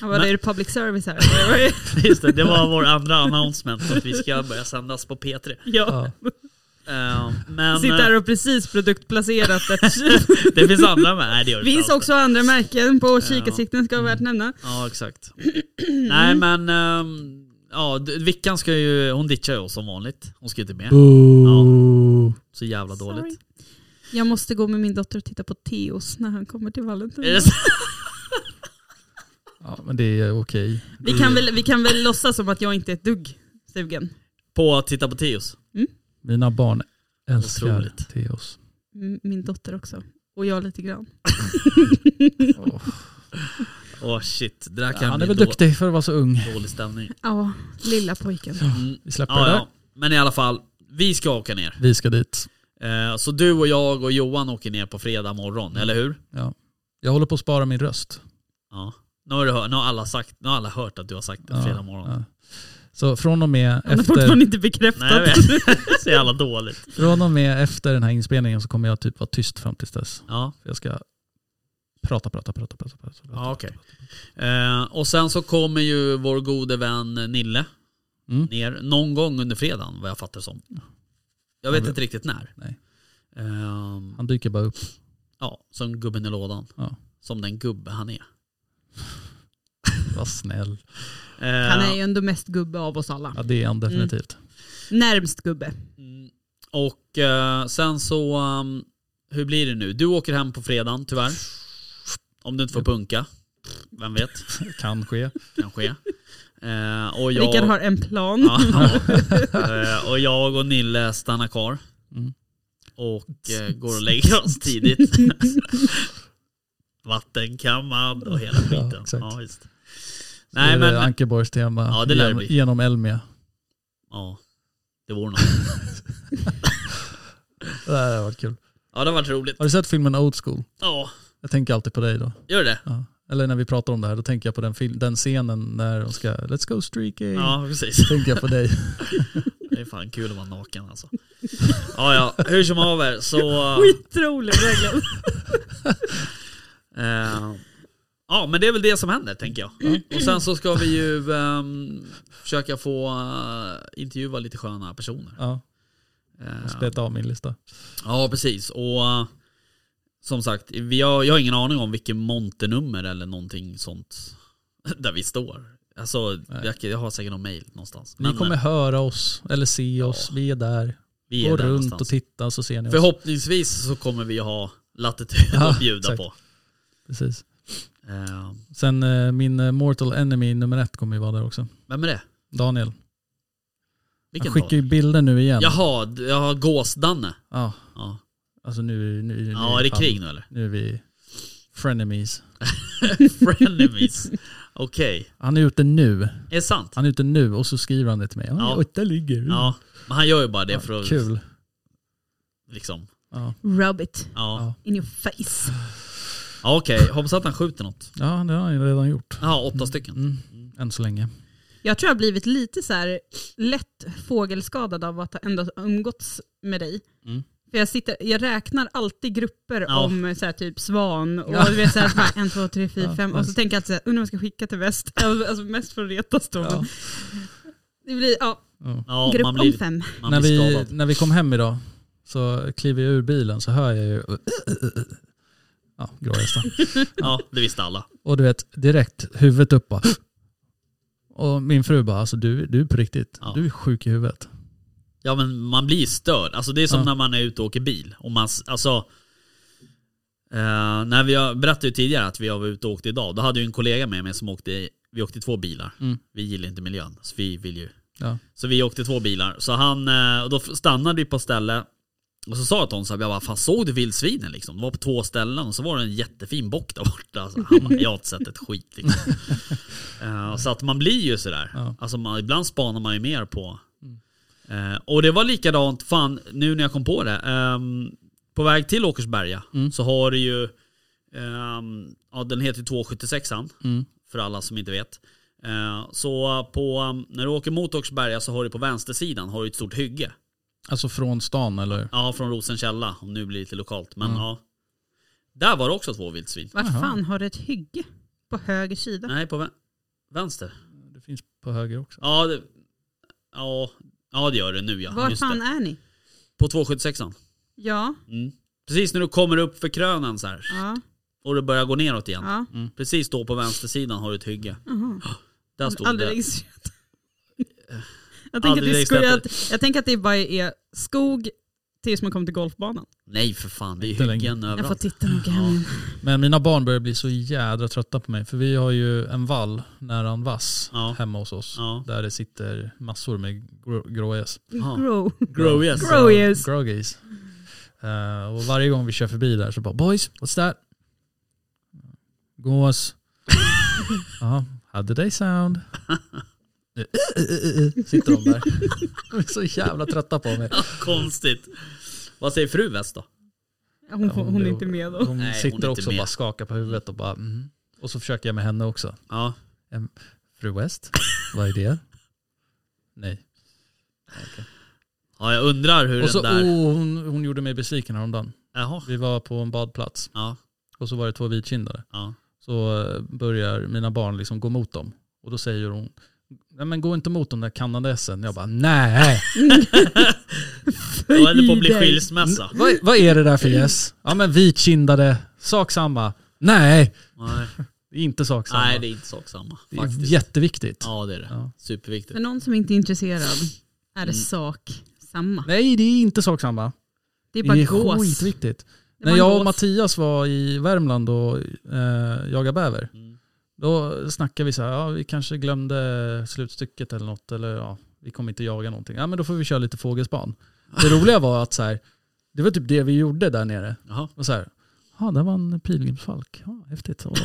Speaker 2: Ja, vad
Speaker 3: Men-
Speaker 2: är det public service här?
Speaker 3: *laughs* Just det, det var vår andra announcement att vi ska börja sändas på P3.
Speaker 2: ja.
Speaker 4: Ja.
Speaker 3: Eh, men
Speaker 2: Sitter
Speaker 3: eh,
Speaker 2: här och precis produktplacerat.
Speaker 3: *laughs* det finns andra med. Nej, det gör det
Speaker 2: finns
Speaker 3: inte alls.
Speaker 2: också andra märken på kikarsikten ska vara värt att nämna. *clears throat*
Speaker 3: Ja, exakt. Nej,
Speaker 2: Mm.
Speaker 3: men ehm, ja, d- Vickan ska ju, hon ditchar ju oss som vanligt. Hon ska ju inte med.
Speaker 4: Boo.
Speaker 3: Så jävla
Speaker 2: Sorry.
Speaker 3: dåligt.
Speaker 2: Jag måste gå med min dotter och titta på Teos när han kommer till
Speaker 3: Är det
Speaker 2: Valentin.
Speaker 3: så?
Speaker 4: Ja, men det är okej.
Speaker 2: Vi kan, väl, vi kan väl låtsas som att jag inte är ett dugg sugen.
Speaker 3: På att titta på Teos.
Speaker 4: Mina barn älskar
Speaker 3: Otroligt.
Speaker 4: Teos.
Speaker 2: M- Min dotter också. Och jag lite grann.
Speaker 4: Åh.
Speaker 3: Åh shit, det där kan
Speaker 4: Han
Speaker 3: bli
Speaker 4: är väl
Speaker 3: då-
Speaker 4: duktig för att vara så ung.
Speaker 3: dålig stämning.
Speaker 2: Ja, lilla pojken.
Speaker 3: Mm.
Speaker 4: Vi släpper
Speaker 3: Ja,
Speaker 4: det där.
Speaker 3: ja. Men i alla fall, vi ska åka ner.
Speaker 4: Vi ska dit.
Speaker 3: Eh, så du och jag och Johan åker ner på fredag morgon,
Speaker 4: Mm.
Speaker 3: eller hur?
Speaker 4: Ja. Jag håller på att spara min röst.
Speaker 3: Ja. Nu har, du hör, nu, har alla sagt, nu har alla hört att du har sagt det
Speaker 4: Ja,
Speaker 3: fredag morgon.
Speaker 4: ja. Så från och med
Speaker 2: Han har
Speaker 4: efter...
Speaker 2: fortfarande inte
Speaker 3: Nej, jag
Speaker 2: bekräftat.
Speaker 3: vet. *laughs* så jävla dåligt.
Speaker 4: Från och med efter den här inspelningen så kommer jag typ vara tyst fram tills dess.
Speaker 3: Ja,
Speaker 4: För jag ska prata, prata, prata, prata. prata, prata.
Speaker 3: ja okej. Eh, och sen så kommer ju vår gode vän Nille
Speaker 4: Mm.
Speaker 3: ner någon gång under fredagen, vad jag fattar som. Jag vet
Speaker 4: Ja, vi-
Speaker 3: inte riktigt när.
Speaker 4: Nej.
Speaker 3: Ehm,
Speaker 4: Han dyker bara upp.
Speaker 3: ja, som gubben i lådan.
Speaker 4: Ja.
Speaker 3: Som den gubbe han är.
Speaker 4: Vad snäll.
Speaker 3: Eh,
Speaker 2: Han är ju ändå mest gubbe av oss alla.
Speaker 4: Ja, det är han definitivt.
Speaker 2: Närmst gubbe.
Speaker 3: Mm. Och eh, sen så, um, hur blir det nu? Du åker hem på fredagen tyvärr. Om du inte får punka. Vem vet,
Speaker 4: Kanske.
Speaker 3: kanske. Eh, och,
Speaker 2: Rickard
Speaker 3: jag,
Speaker 2: har en plan. *laughs*
Speaker 3: ja, eh, och jag och Nille stannar kvar.
Speaker 4: Mm.
Speaker 3: Och eh, går och lägger oss tidigt. Vattenkammad och hela skiten.
Speaker 4: exakt. eh,
Speaker 3: Ja, visst.
Speaker 4: Nej,
Speaker 3: Nej
Speaker 4: men...
Speaker 3: men,
Speaker 4: Ankeborgs tema
Speaker 3: Ja, det lär det
Speaker 4: genom,
Speaker 3: bli.
Speaker 4: genom Elmia.
Speaker 3: ja. Det vore något.
Speaker 4: Det här har varit kul.
Speaker 3: Ja det har varit roligt.
Speaker 4: Har du sett filmen Old School?
Speaker 3: Ja,
Speaker 4: Jag tänker alltid på dig då.
Speaker 3: gör det?
Speaker 4: Ja. Eller när vi pratar om det här, då tänker jag på den, fil- den scenen när de ska Let's go streaking.
Speaker 3: Ja precis.
Speaker 4: Tänker jag
Speaker 3: *laughs*
Speaker 4: på dig.
Speaker 3: Det är fan kul att vara naken alltså. Ja, ja. Hur som haver så...
Speaker 4: *laughs*
Speaker 2: Skitrolig verkligen.
Speaker 3: eh, ja, men det är väl det som händer tänker jag. Mm. Och sen så ska vi ju ehm, försöka få eh, intervjua lite sköna personer.
Speaker 4: Ja, jag
Speaker 3: Eh,
Speaker 4: måste beta av min lista.
Speaker 3: ja, precis. Och eh, som sagt, vi har, jag har ingen aning om vilken monternummer eller någonting sånt *laughs* där vi står. Alltså, jag, jag har säkert någon mail någonstans.
Speaker 4: Ni kommer
Speaker 3: eh,
Speaker 4: höra oss eller se oss. Vi är där.
Speaker 3: vi är
Speaker 4: Gå
Speaker 3: där
Speaker 4: runt
Speaker 3: någonstans.
Speaker 4: och titta så ser ni oss.
Speaker 3: Förhoppningsvis så kommer vi ha latitud
Speaker 4: Ja,
Speaker 3: att bjuda
Speaker 4: exakt.
Speaker 3: på.
Speaker 4: Precis.
Speaker 3: Eh,
Speaker 4: Sen eh, min eh, Mortal Enemy nummer ett kommer ju vara där också.
Speaker 3: Vem är det?
Speaker 4: Daniel.
Speaker 3: Vilken
Speaker 4: Han skickar ju bilder nu igen.
Speaker 3: dag? Jaha, d- jaha Gås-Danne.
Speaker 4: Ja,
Speaker 3: Ja.
Speaker 4: alltså nu, nu, nu
Speaker 3: ja, är det
Speaker 4: fan-
Speaker 3: krig nu eller? *laughs*
Speaker 4: Nu är vi frenemies.
Speaker 3: Frenemies. Okej,
Speaker 4: Han är ute nu.
Speaker 3: är det sant?
Speaker 4: Han är ute nu och så skriver han det till mig.
Speaker 3: Ja.
Speaker 4: Ja, åtta ligger.
Speaker 3: Ja, men han gör ju bara det
Speaker 4: Mm. Ja,
Speaker 3: för att
Speaker 4: Kul.
Speaker 3: liksom...
Speaker 4: Ja,
Speaker 2: Rub it
Speaker 3: Ja,
Speaker 4: Ja.
Speaker 2: in your face.
Speaker 3: ja okej. Hoppas att han skjuter något.
Speaker 4: ja det har han ju redan gjort.
Speaker 3: Ja, åtta stycken.
Speaker 4: Mm. Än så länge.
Speaker 2: Jag tror jag har blivit lite så här lätt fågelskadad av att ha ändå umgåtts med dig.
Speaker 3: Mm.
Speaker 2: För jag, sitter, jag räknar alltid grupper
Speaker 3: Ja.
Speaker 2: om så här, typ svan och du vet, så här, bara, en, två, tre, fyra,
Speaker 4: Ja,
Speaker 2: fem. Och så
Speaker 4: nice.
Speaker 2: tänker jag alltid så här, undrar vad jag ska skicka till väst. *laughs* Alltså mest för att retas då. men Det blir, ja,
Speaker 4: Ja.
Speaker 3: Ja,
Speaker 2: grupp
Speaker 3: man blir,
Speaker 2: om fem.
Speaker 3: man
Speaker 4: När,
Speaker 3: blir
Speaker 4: vi,
Speaker 3: skadad.
Speaker 4: när vi kom hem idag så kliver jag ur bilen så hör jag ju... Ja, gråhästar.
Speaker 3: Ja, det visste alla.
Speaker 4: Och du vet, direkt huvudet upp bara. Och min fru bara, alltså du, du är på riktigt.
Speaker 3: Ja.
Speaker 4: Du är sjuk i huvudet.
Speaker 3: Ja, men man blir störd. Alltså det är som
Speaker 4: Ja.
Speaker 3: när man är ute och åker bil. Och man, s- alltså... Eh, när vi har- berättade ju tidigare att vi var ute och åkte idag. Då hade ju en kollega med mig som åkte, i- vi åkte i två bilar.
Speaker 4: Mm.
Speaker 3: Vi gillar inte miljön, så vi vill ju
Speaker 4: Ja.
Speaker 3: så vi åkte två bilar. Så han, eh, och då stannade vi på ställe. Och så sa jag till honom så här, jag bara, fan såg du vildsvinen liksom? Det var på två ställen och så var det en jättefin bock där borta. Alltså, han bara, jag har inte sett ett skit
Speaker 4: *laughs*
Speaker 3: liksom. Eh, Så att man blir ju sådär.
Speaker 4: Ja.
Speaker 3: Alltså man, ibland spanar man ju mer på. Eh, Och det var likadant, fan nu när jag kom på det. ehm, På väg till Åkersberga så har du ju, ehm, ja den heter ju 276an
Speaker 4: Mm.
Speaker 3: för alla som inte vet. Eh, Så på, när du åker mot Åkersberga så har du på vänstersidan har du ett stort hygge.
Speaker 4: Alltså från stan eller?
Speaker 3: Ja, från Rosenkälla, om nu blir det lite lokalt. Men ja. Där var det också två vildsvin.
Speaker 2: Vart
Speaker 4: Jaha.
Speaker 2: fan har du ett hygge? På höger sida?
Speaker 3: Nej, på vä- vänster.
Speaker 4: Det finns på höger också.
Speaker 3: Ja, det, ja, ja, det gör det nu ja.
Speaker 2: Var
Speaker 3: Just
Speaker 2: fan
Speaker 3: det.
Speaker 2: är ni?
Speaker 3: På 276an.
Speaker 2: Ja,
Speaker 3: Mm. Precis när du kommer upp för krönan så här
Speaker 2: ja,
Speaker 3: och det börjar gå neråt igen.
Speaker 2: ja.
Speaker 3: Precis då på vänstersidan har du ett hygge.
Speaker 2: Aha.
Speaker 3: Där stod
Speaker 2: Aldrig
Speaker 3: det. *laughs*
Speaker 2: registrerat. Jag tänker, att
Speaker 3: Aldrig
Speaker 2: det sko- jag,
Speaker 3: registrerat.
Speaker 2: jag tänker att det bara är skog tills man kommer till golfbanan.
Speaker 3: Nej för fan, det är
Speaker 4: Inte längre.
Speaker 3: hyggen
Speaker 2: Jag får
Speaker 3: överallt.
Speaker 2: titta noga hem igen.
Speaker 4: Men mina barn börjar bli så jädra trötta på mig. För vi har ju en vall nära en vass
Speaker 3: Ja.
Speaker 4: hemma hos oss.
Speaker 3: Ja.
Speaker 4: Där det sitter massor med gro- grågäss.
Speaker 2: Mm.
Speaker 3: Ja.
Speaker 2: Grow.
Speaker 3: Grow yes.
Speaker 4: uh,
Speaker 2: Groggies.
Speaker 4: Groggies. Eh, och varje gång vi kör förbi där så bara boys, what's that? Gås. Ja, how do they sound? Eh, eh, eh, eh, Sitter de där. De är så jävla trötta på mig.
Speaker 2: Mm.
Speaker 3: *laughs* Konstigt. Vad säger fru West då?
Speaker 2: Hon, får- hon är inte med då.
Speaker 4: Hon
Speaker 3: Nej, hon är
Speaker 4: sitter
Speaker 3: inte
Speaker 4: också och
Speaker 3: med.
Speaker 4: bara skakar på huvudet och bara mm. Och så försöker jag med henne också.
Speaker 3: Ja.
Speaker 4: Fru West, vad är det? Nej.
Speaker 3: Ja, jag undrar hur
Speaker 4: Och så,
Speaker 3: den där...
Speaker 4: oh, hon, hon gjorde mig besviken häromdagen.
Speaker 3: Jaha.
Speaker 4: Vi var på en badplats
Speaker 3: Ja,
Speaker 4: och så var det två vitkindade.
Speaker 3: ja.
Speaker 4: Så eh, börjar mina barn liksom gå mot dem. Och då säger hon, nej men gå inte mot de där kanadensen. Jag
Speaker 3: *laughs*
Speaker 4: bara, nej,
Speaker 3: Då är det på att
Speaker 2: *laughs*
Speaker 3: bli
Speaker 2: Fy dig.
Speaker 3: skilsmässa.
Speaker 2: Mm.
Speaker 4: vad, vad är det där för gäss? Ja men vitkindade, sak samma. Nej,
Speaker 3: Nej,
Speaker 4: det är inte sak samma.
Speaker 3: Nej det är inte sak samma.
Speaker 4: det är
Speaker 3: Faktiskt.
Speaker 4: jätteviktigt.
Speaker 3: Ja det är det.
Speaker 4: Ja.
Speaker 3: Superviktigt.
Speaker 2: För någon som inte är intresserad är
Speaker 3: Mm.
Speaker 2: det sak samma.
Speaker 4: Nej det är inte sak samma.
Speaker 2: Det är
Speaker 4: Det är,
Speaker 2: bara gås.
Speaker 4: skitviktigt.
Speaker 2: Det var
Speaker 4: När
Speaker 2: en
Speaker 4: jag
Speaker 2: gås.
Speaker 4: och Mattias var i Värmland och eh, jagade bäver,
Speaker 3: Mm.
Speaker 4: då snackade vi så här, ja, vi kanske glömde slutstycket eller något, eller ja, vi kommer inte jaga någonting. Ja men då får vi köra lite fågelspan.
Speaker 3: *laughs*
Speaker 4: Det roliga var att så här, det var typ det vi gjorde där nere.
Speaker 3: Jaha.
Speaker 4: Och så här, ja där var en pilgrimsfalk, ja häftigt. Och,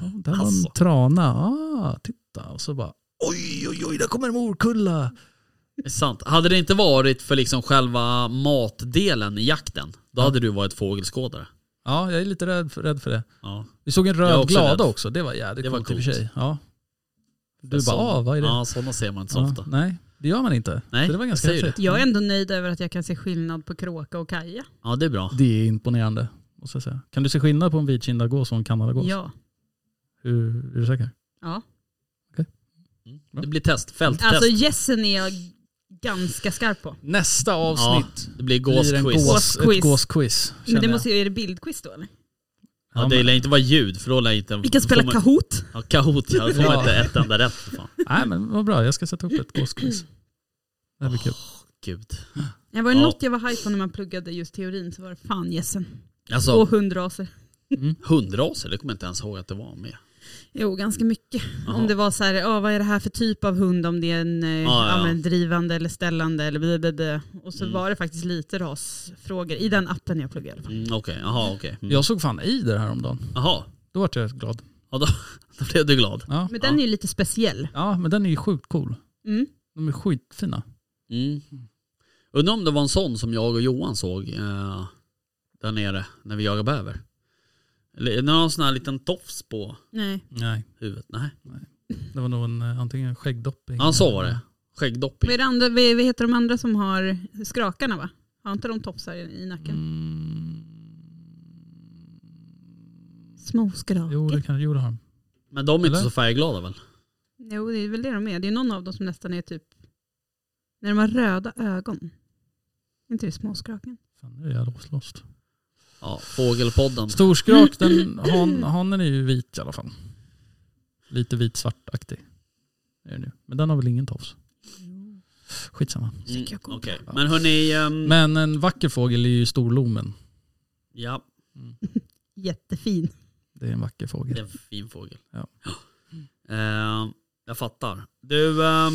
Speaker 4: ja, där var
Speaker 3: Alltså.
Speaker 4: en trana, ah, titta. Och så bara, oj oj oj, där kommer en morkulla.
Speaker 3: Det är sant. Hade det inte varit för liksom själva matdelen i jakten, då hade du varit fågelskådare.
Speaker 4: Ja, jag är lite rädd för, rädd för det.
Speaker 3: Ja.
Speaker 4: Vi såg en
Speaker 3: Jag är
Speaker 4: röd
Speaker 3: också
Speaker 4: glada
Speaker 3: rädd.
Speaker 4: också, det var jävligt
Speaker 3: Det var
Speaker 4: coolt i och för
Speaker 3: coolt.
Speaker 4: sig. Ja. Du
Speaker 3: Sån-
Speaker 4: bara, ah, vad är det?
Speaker 3: Ja, sådana ser man inte så
Speaker 4: Ja,
Speaker 3: ofta.
Speaker 4: nej, det gör man inte.
Speaker 3: Nej,
Speaker 4: så det var
Speaker 3: jag
Speaker 4: ganska
Speaker 3: säger
Speaker 4: häftigt.
Speaker 2: Jag är ändå nöjd över att jag kan se skillnad på kråka och kaja.
Speaker 3: Ja, det är bra.
Speaker 4: Det är imponerande. Måste jag säga. Kan du se skillnad på en vitkindad gås och en kanadagås?
Speaker 2: Ja.
Speaker 4: Hur, är du säker?
Speaker 2: ja.
Speaker 3: Det blir test. Fälttest.
Speaker 2: Alltså gässen är jag ganska skarp på.
Speaker 4: Nästa
Speaker 3: ja,
Speaker 4: avsnitt
Speaker 3: det blir
Speaker 4: blir en
Speaker 3: gåsquiz.
Speaker 4: gås,
Speaker 2: Gåsquiz.
Speaker 4: ett gåsquiz.
Speaker 2: Men det
Speaker 4: känner
Speaker 2: måste ju, är det bildquiz då eller?
Speaker 3: Ja, det lär inte vara ljud, för då lär inte...
Speaker 2: Vi kan spela
Speaker 3: Mm. får man-
Speaker 2: Kahoot.
Speaker 3: Ja, Kahoot. Ja, då får man
Speaker 4: Ja.
Speaker 3: inte ett enda rätt. för Fan.
Speaker 4: jag. Nej men vad bra, jag ska sätta upp ett gåsquiz. Det här blir kul.
Speaker 3: Gud.
Speaker 2: Det var ju
Speaker 3: Ja.
Speaker 2: något jag var haj på när man pluggade just teorin så var det fan gässen.
Speaker 3: Alltså,
Speaker 2: Och hundraser.
Speaker 3: hundraser, det kommer jag inte ens ihåg att det var med.
Speaker 2: Jo, ganska mycket.
Speaker 3: Jaha.
Speaker 2: Om det var så här, ja, vad är det här för typ av hund? Om det är en eh,
Speaker 3: ja,
Speaker 2: ja,
Speaker 3: ja.
Speaker 2: men drivande eller ställande eller blah, blah, blah. Och så
Speaker 3: Mm.
Speaker 2: var det faktiskt lite rasfrågor i den appen jag pluggade. i alla fall.
Speaker 3: Mm, okej, jaha okej. Mm.
Speaker 4: Jag såg fan ejder häromdagen.
Speaker 3: Jaha,
Speaker 4: Då vart jag glad.
Speaker 3: ja, då, då blev du glad.
Speaker 4: Ja.
Speaker 2: Men den är ju lite speciell.
Speaker 4: ja, men den är ju sjukt cool.
Speaker 2: Mm.
Speaker 4: De är skitfina.
Speaker 3: Mm. Undrar om det var en sån som jag och Johan såg eh, där nere när vi jagade bäver. Eller är det någon sån här liten tofs på
Speaker 2: Nej.
Speaker 4: Nej,
Speaker 3: huvudet? Nej.
Speaker 4: det var nog en, eh, antingen skäggdopping.
Speaker 3: Ja, så var
Speaker 4: eller-
Speaker 3: det. Skäggdopping.
Speaker 2: Vad, är det andra, vad vad heter de andra som har skrakarna va? Har inte de topsar i, i nacken?
Speaker 4: Mm,
Speaker 3: Mm.
Speaker 2: Små skrakor.
Speaker 4: Jo,
Speaker 2: Jo,
Speaker 4: det kan, jo, det har de.
Speaker 3: Men de är inte
Speaker 4: Eller?
Speaker 3: så färgglada väl?
Speaker 2: det är väl det de är. Det är någon av dem som nästan är typ, när de har röda ögon. Är inte det småskraken?
Speaker 4: Fan, nu är jag lost.
Speaker 3: Ja, fågelpodden. *laughs*
Speaker 4: Storskrak, den, han, hanen är ju vit i alla fall. Lite vit-svartaktig. Är den ju. Men den har väl ingen tofs? Skitsamma.
Speaker 3: Mm,
Speaker 2: Fick jag googla.
Speaker 3: Okej, men hörni. ehm,
Speaker 4: Men en vacker fågel är ju storlomen.
Speaker 3: ja.
Speaker 2: Jättefin.
Speaker 4: Det är en vacker fågel.
Speaker 3: Det är en fin fågel. *gasps*
Speaker 4: Ja.
Speaker 3: Eh, jag fattar. Du, ehm,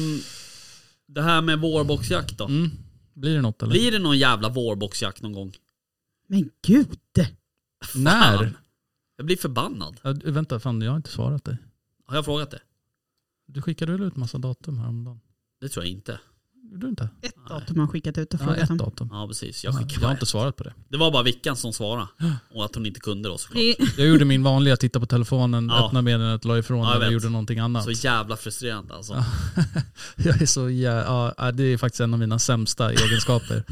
Speaker 3: det här med vårboxjakt då.
Speaker 4: Mm. Blir det något eller?
Speaker 3: Blir det någon jävla vårboxjakt någon gång?
Speaker 2: Men gud!
Speaker 3: Fan.
Speaker 4: När?
Speaker 3: Jag blir förbannad.
Speaker 4: Ja, du- vänta, fan jag har inte svarat dig.
Speaker 3: Har jag frågat det?
Speaker 4: Du skickade väl ut massa datum häromdagen?
Speaker 3: Det tror jag inte.
Speaker 4: Gjorde du inte?
Speaker 2: Ett datum har han skickat ut och
Speaker 4: Ja,
Speaker 2: frågat
Speaker 4: ett
Speaker 2: om.
Speaker 4: datum.
Speaker 3: Ja precis. Jag
Speaker 4: Jag,
Speaker 3: skickade
Speaker 4: har
Speaker 3: bara
Speaker 4: inte
Speaker 3: ett.
Speaker 4: svarat på det.
Speaker 3: Det var bara Vickan som
Speaker 4: *gasps*
Speaker 3: svarade. Och att hon inte kunde då såklart.
Speaker 2: Det är-
Speaker 4: Jag gjorde min vanliga, titta på telefonen,
Speaker 3: Ja.
Speaker 4: öppna meddelandet, la ifrån
Speaker 3: Ja, jag
Speaker 4: den och
Speaker 3: vet.
Speaker 4: gjorde någonting annat.
Speaker 3: Så jävla frustrerande alltså.
Speaker 4: Ja. *laughs* Jag är så jä... ja, ja, det är faktiskt en av mina sämsta egenskaper.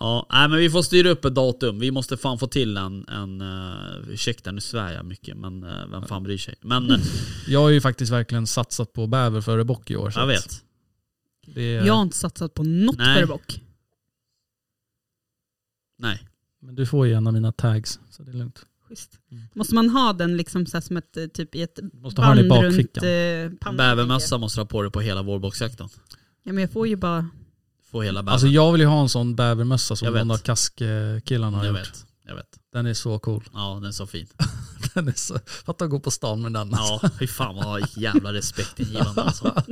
Speaker 3: Ja, nej, men vi får styra upp ett datum. Vi måste fan få till en, en uh, ursäkta nu svär jag mycket men eh, vem fan bryr sig. Men
Speaker 4: *laughs*
Speaker 3: eh,
Speaker 4: Jag har ju faktiskt verkligen satsat på bäver före bock i år. så
Speaker 3: jag
Speaker 4: att
Speaker 3: vet.
Speaker 4: Det är...
Speaker 2: Jag har inte satsat på något
Speaker 3: Nej.
Speaker 2: för bock.
Speaker 3: Nej.
Speaker 4: Men du får ju en av mina tags, så det är lugnt.
Speaker 2: Schysst. Mm. Måste man ha den liksom så här som ett, eh, typ i ett
Speaker 4: Måste ha den i
Speaker 2: band
Speaker 4: bakfickan.
Speaker 2: runt eh, pannan?
Speaker 3: Bävermössa måste du ha på dig på hela vårboxjakten.
Speaker 2: Ja men jag får ju bara...
Speaker 3: Få hela bävern.
Speaker 4: Alltså jag vill ju ha en sån bävermössa som
Speaker 3: Jag vet.
Speaker 4: någon av kaskkillarna har
Speaker 3: jag
Speaker 4: gjort.
Speaker 3: vet. Jag vet.
Speaker 4: Den är så cool. *laughs*
Speaker 3: Ja den är så fin.
Speaker 4: Den är så... Fatta att gå på stan med den. alltså.
Speaker 3: Ja fy fan vad jävla respektingivande alltså.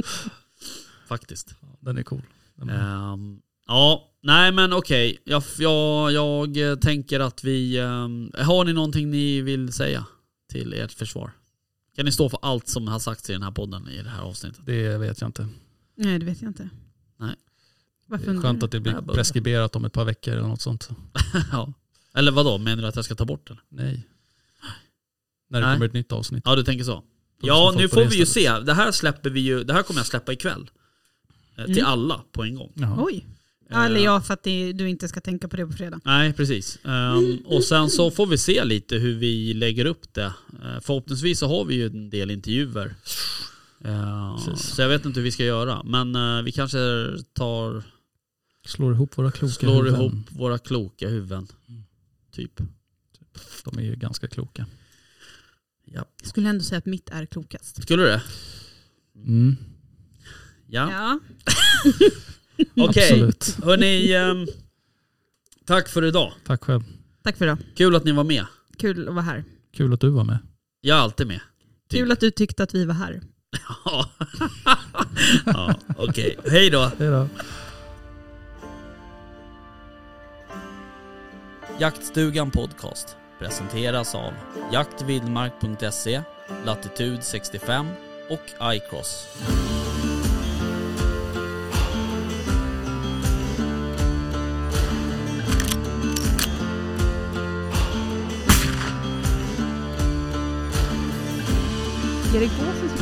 Speaker 3: Faktiskt.
Speaker 4: Den är cool. Den är...
Speaker 3: Ehm, ja, nej men okej. Jag, jag, jag eh, tänker att vi... ehm, har ni någonting ni vill säga till ert försvar? Kan ni stå för allt som har sagts i den här podden i det här avsnittet? *laughs*
Speaker 4: Det vet jag inte.
Speaker 2: Nej det vet jag inte.
Speaker 3: Nej.
Speaker 4: Det
Speaker 2: Varför
Speaker 4: är
Speaker 2: undrar
Speaker 4: skönt
Speaker 2: du?
Speaker 4: att det
Speaker 3: Nej,
Speaker 4: blir
Speaker 3: bara-
Speaker 4: preskriberat om ett par veckor eller något sånt.
Speaker 3: ja. Eller vad då? menar du att jag ska ta bort den?
Speaker 4: Nej. När det
Speaker 3: Nej.
Speaker 4: kommer ett nytt avsnitt.
Speaker 3: Ja, du tänker så?
Speaker 4: Då
Speaker 3: Ja,
Speaker 4: lyssnar folk
Speaker 3: nu
Speaker 4: på
Speaker 3: får
Speaker 4: det
Speaker 3: vi ju
Speaker 4: istället.
Speaker 3: se. Det här släpper vi ju... Det här kommer jag släppa ikväll. Eh, Till
Speaker 2: Mm.
Speaker 3: alla på en gång.
Speaker 4: Jaha.
Speaker 2: Oj. Ja, eller
Speaker 3: Eh,
Speaker 2: ja för att det, du inte ska tänka på det på fredag.
Speaker 3: Nej, precis. Ehm, och sen så får vi se lite hur vi lägger upp det. Eh, förhoppningsvis så har vi ju en del intervjuer. Eh,
Speaker 4: Precis.
Speaker 3: så jag vet inte hur vi ska göra. Men eh, vi kanske tar,
Speaker 4: Slår ihop våra kloka
Speaker 3: slår
Speaker 4: huvuden.
Speaker 3: ihop våra kloka huvuden.
Speaker 4: Mm.
Speaker 3: Typ.
Speaker 4: De är ju ganska kloka.
Speaker 3: Ja.
Speaker 2: Jag skulle ändå säga att mitt är klokast.
Speaker 3: Skulle du det?
Speaker 4: Mm.
Speaker 3: Ja.
Speaker 2: Ja.
Speaker 3: Okej.
Speaker 4: Absolut.
Speaker 3: Hörni, ehm, tack för idag.
Speaker 4: Tack själv.
Speaker 2: Tack för idag.
Speaker 3: Kul att ni var med.
Speaker 2: Kul att vara här.
Speaker 4: Kul att du var med.
Speaker 3: Jag är alltid med. Typ.
Speaker 2: Kul att du tyckte att vi var här.
Speaker 3: Ja, *laughs* ja okej. Hej då.
Speaker 4: Hej då.
Speaker 3: Jaktstugan Podcast presenteras av jaktvildmark.se, Latitude 65 och iCross.
Speaker 2: Erik Gåsens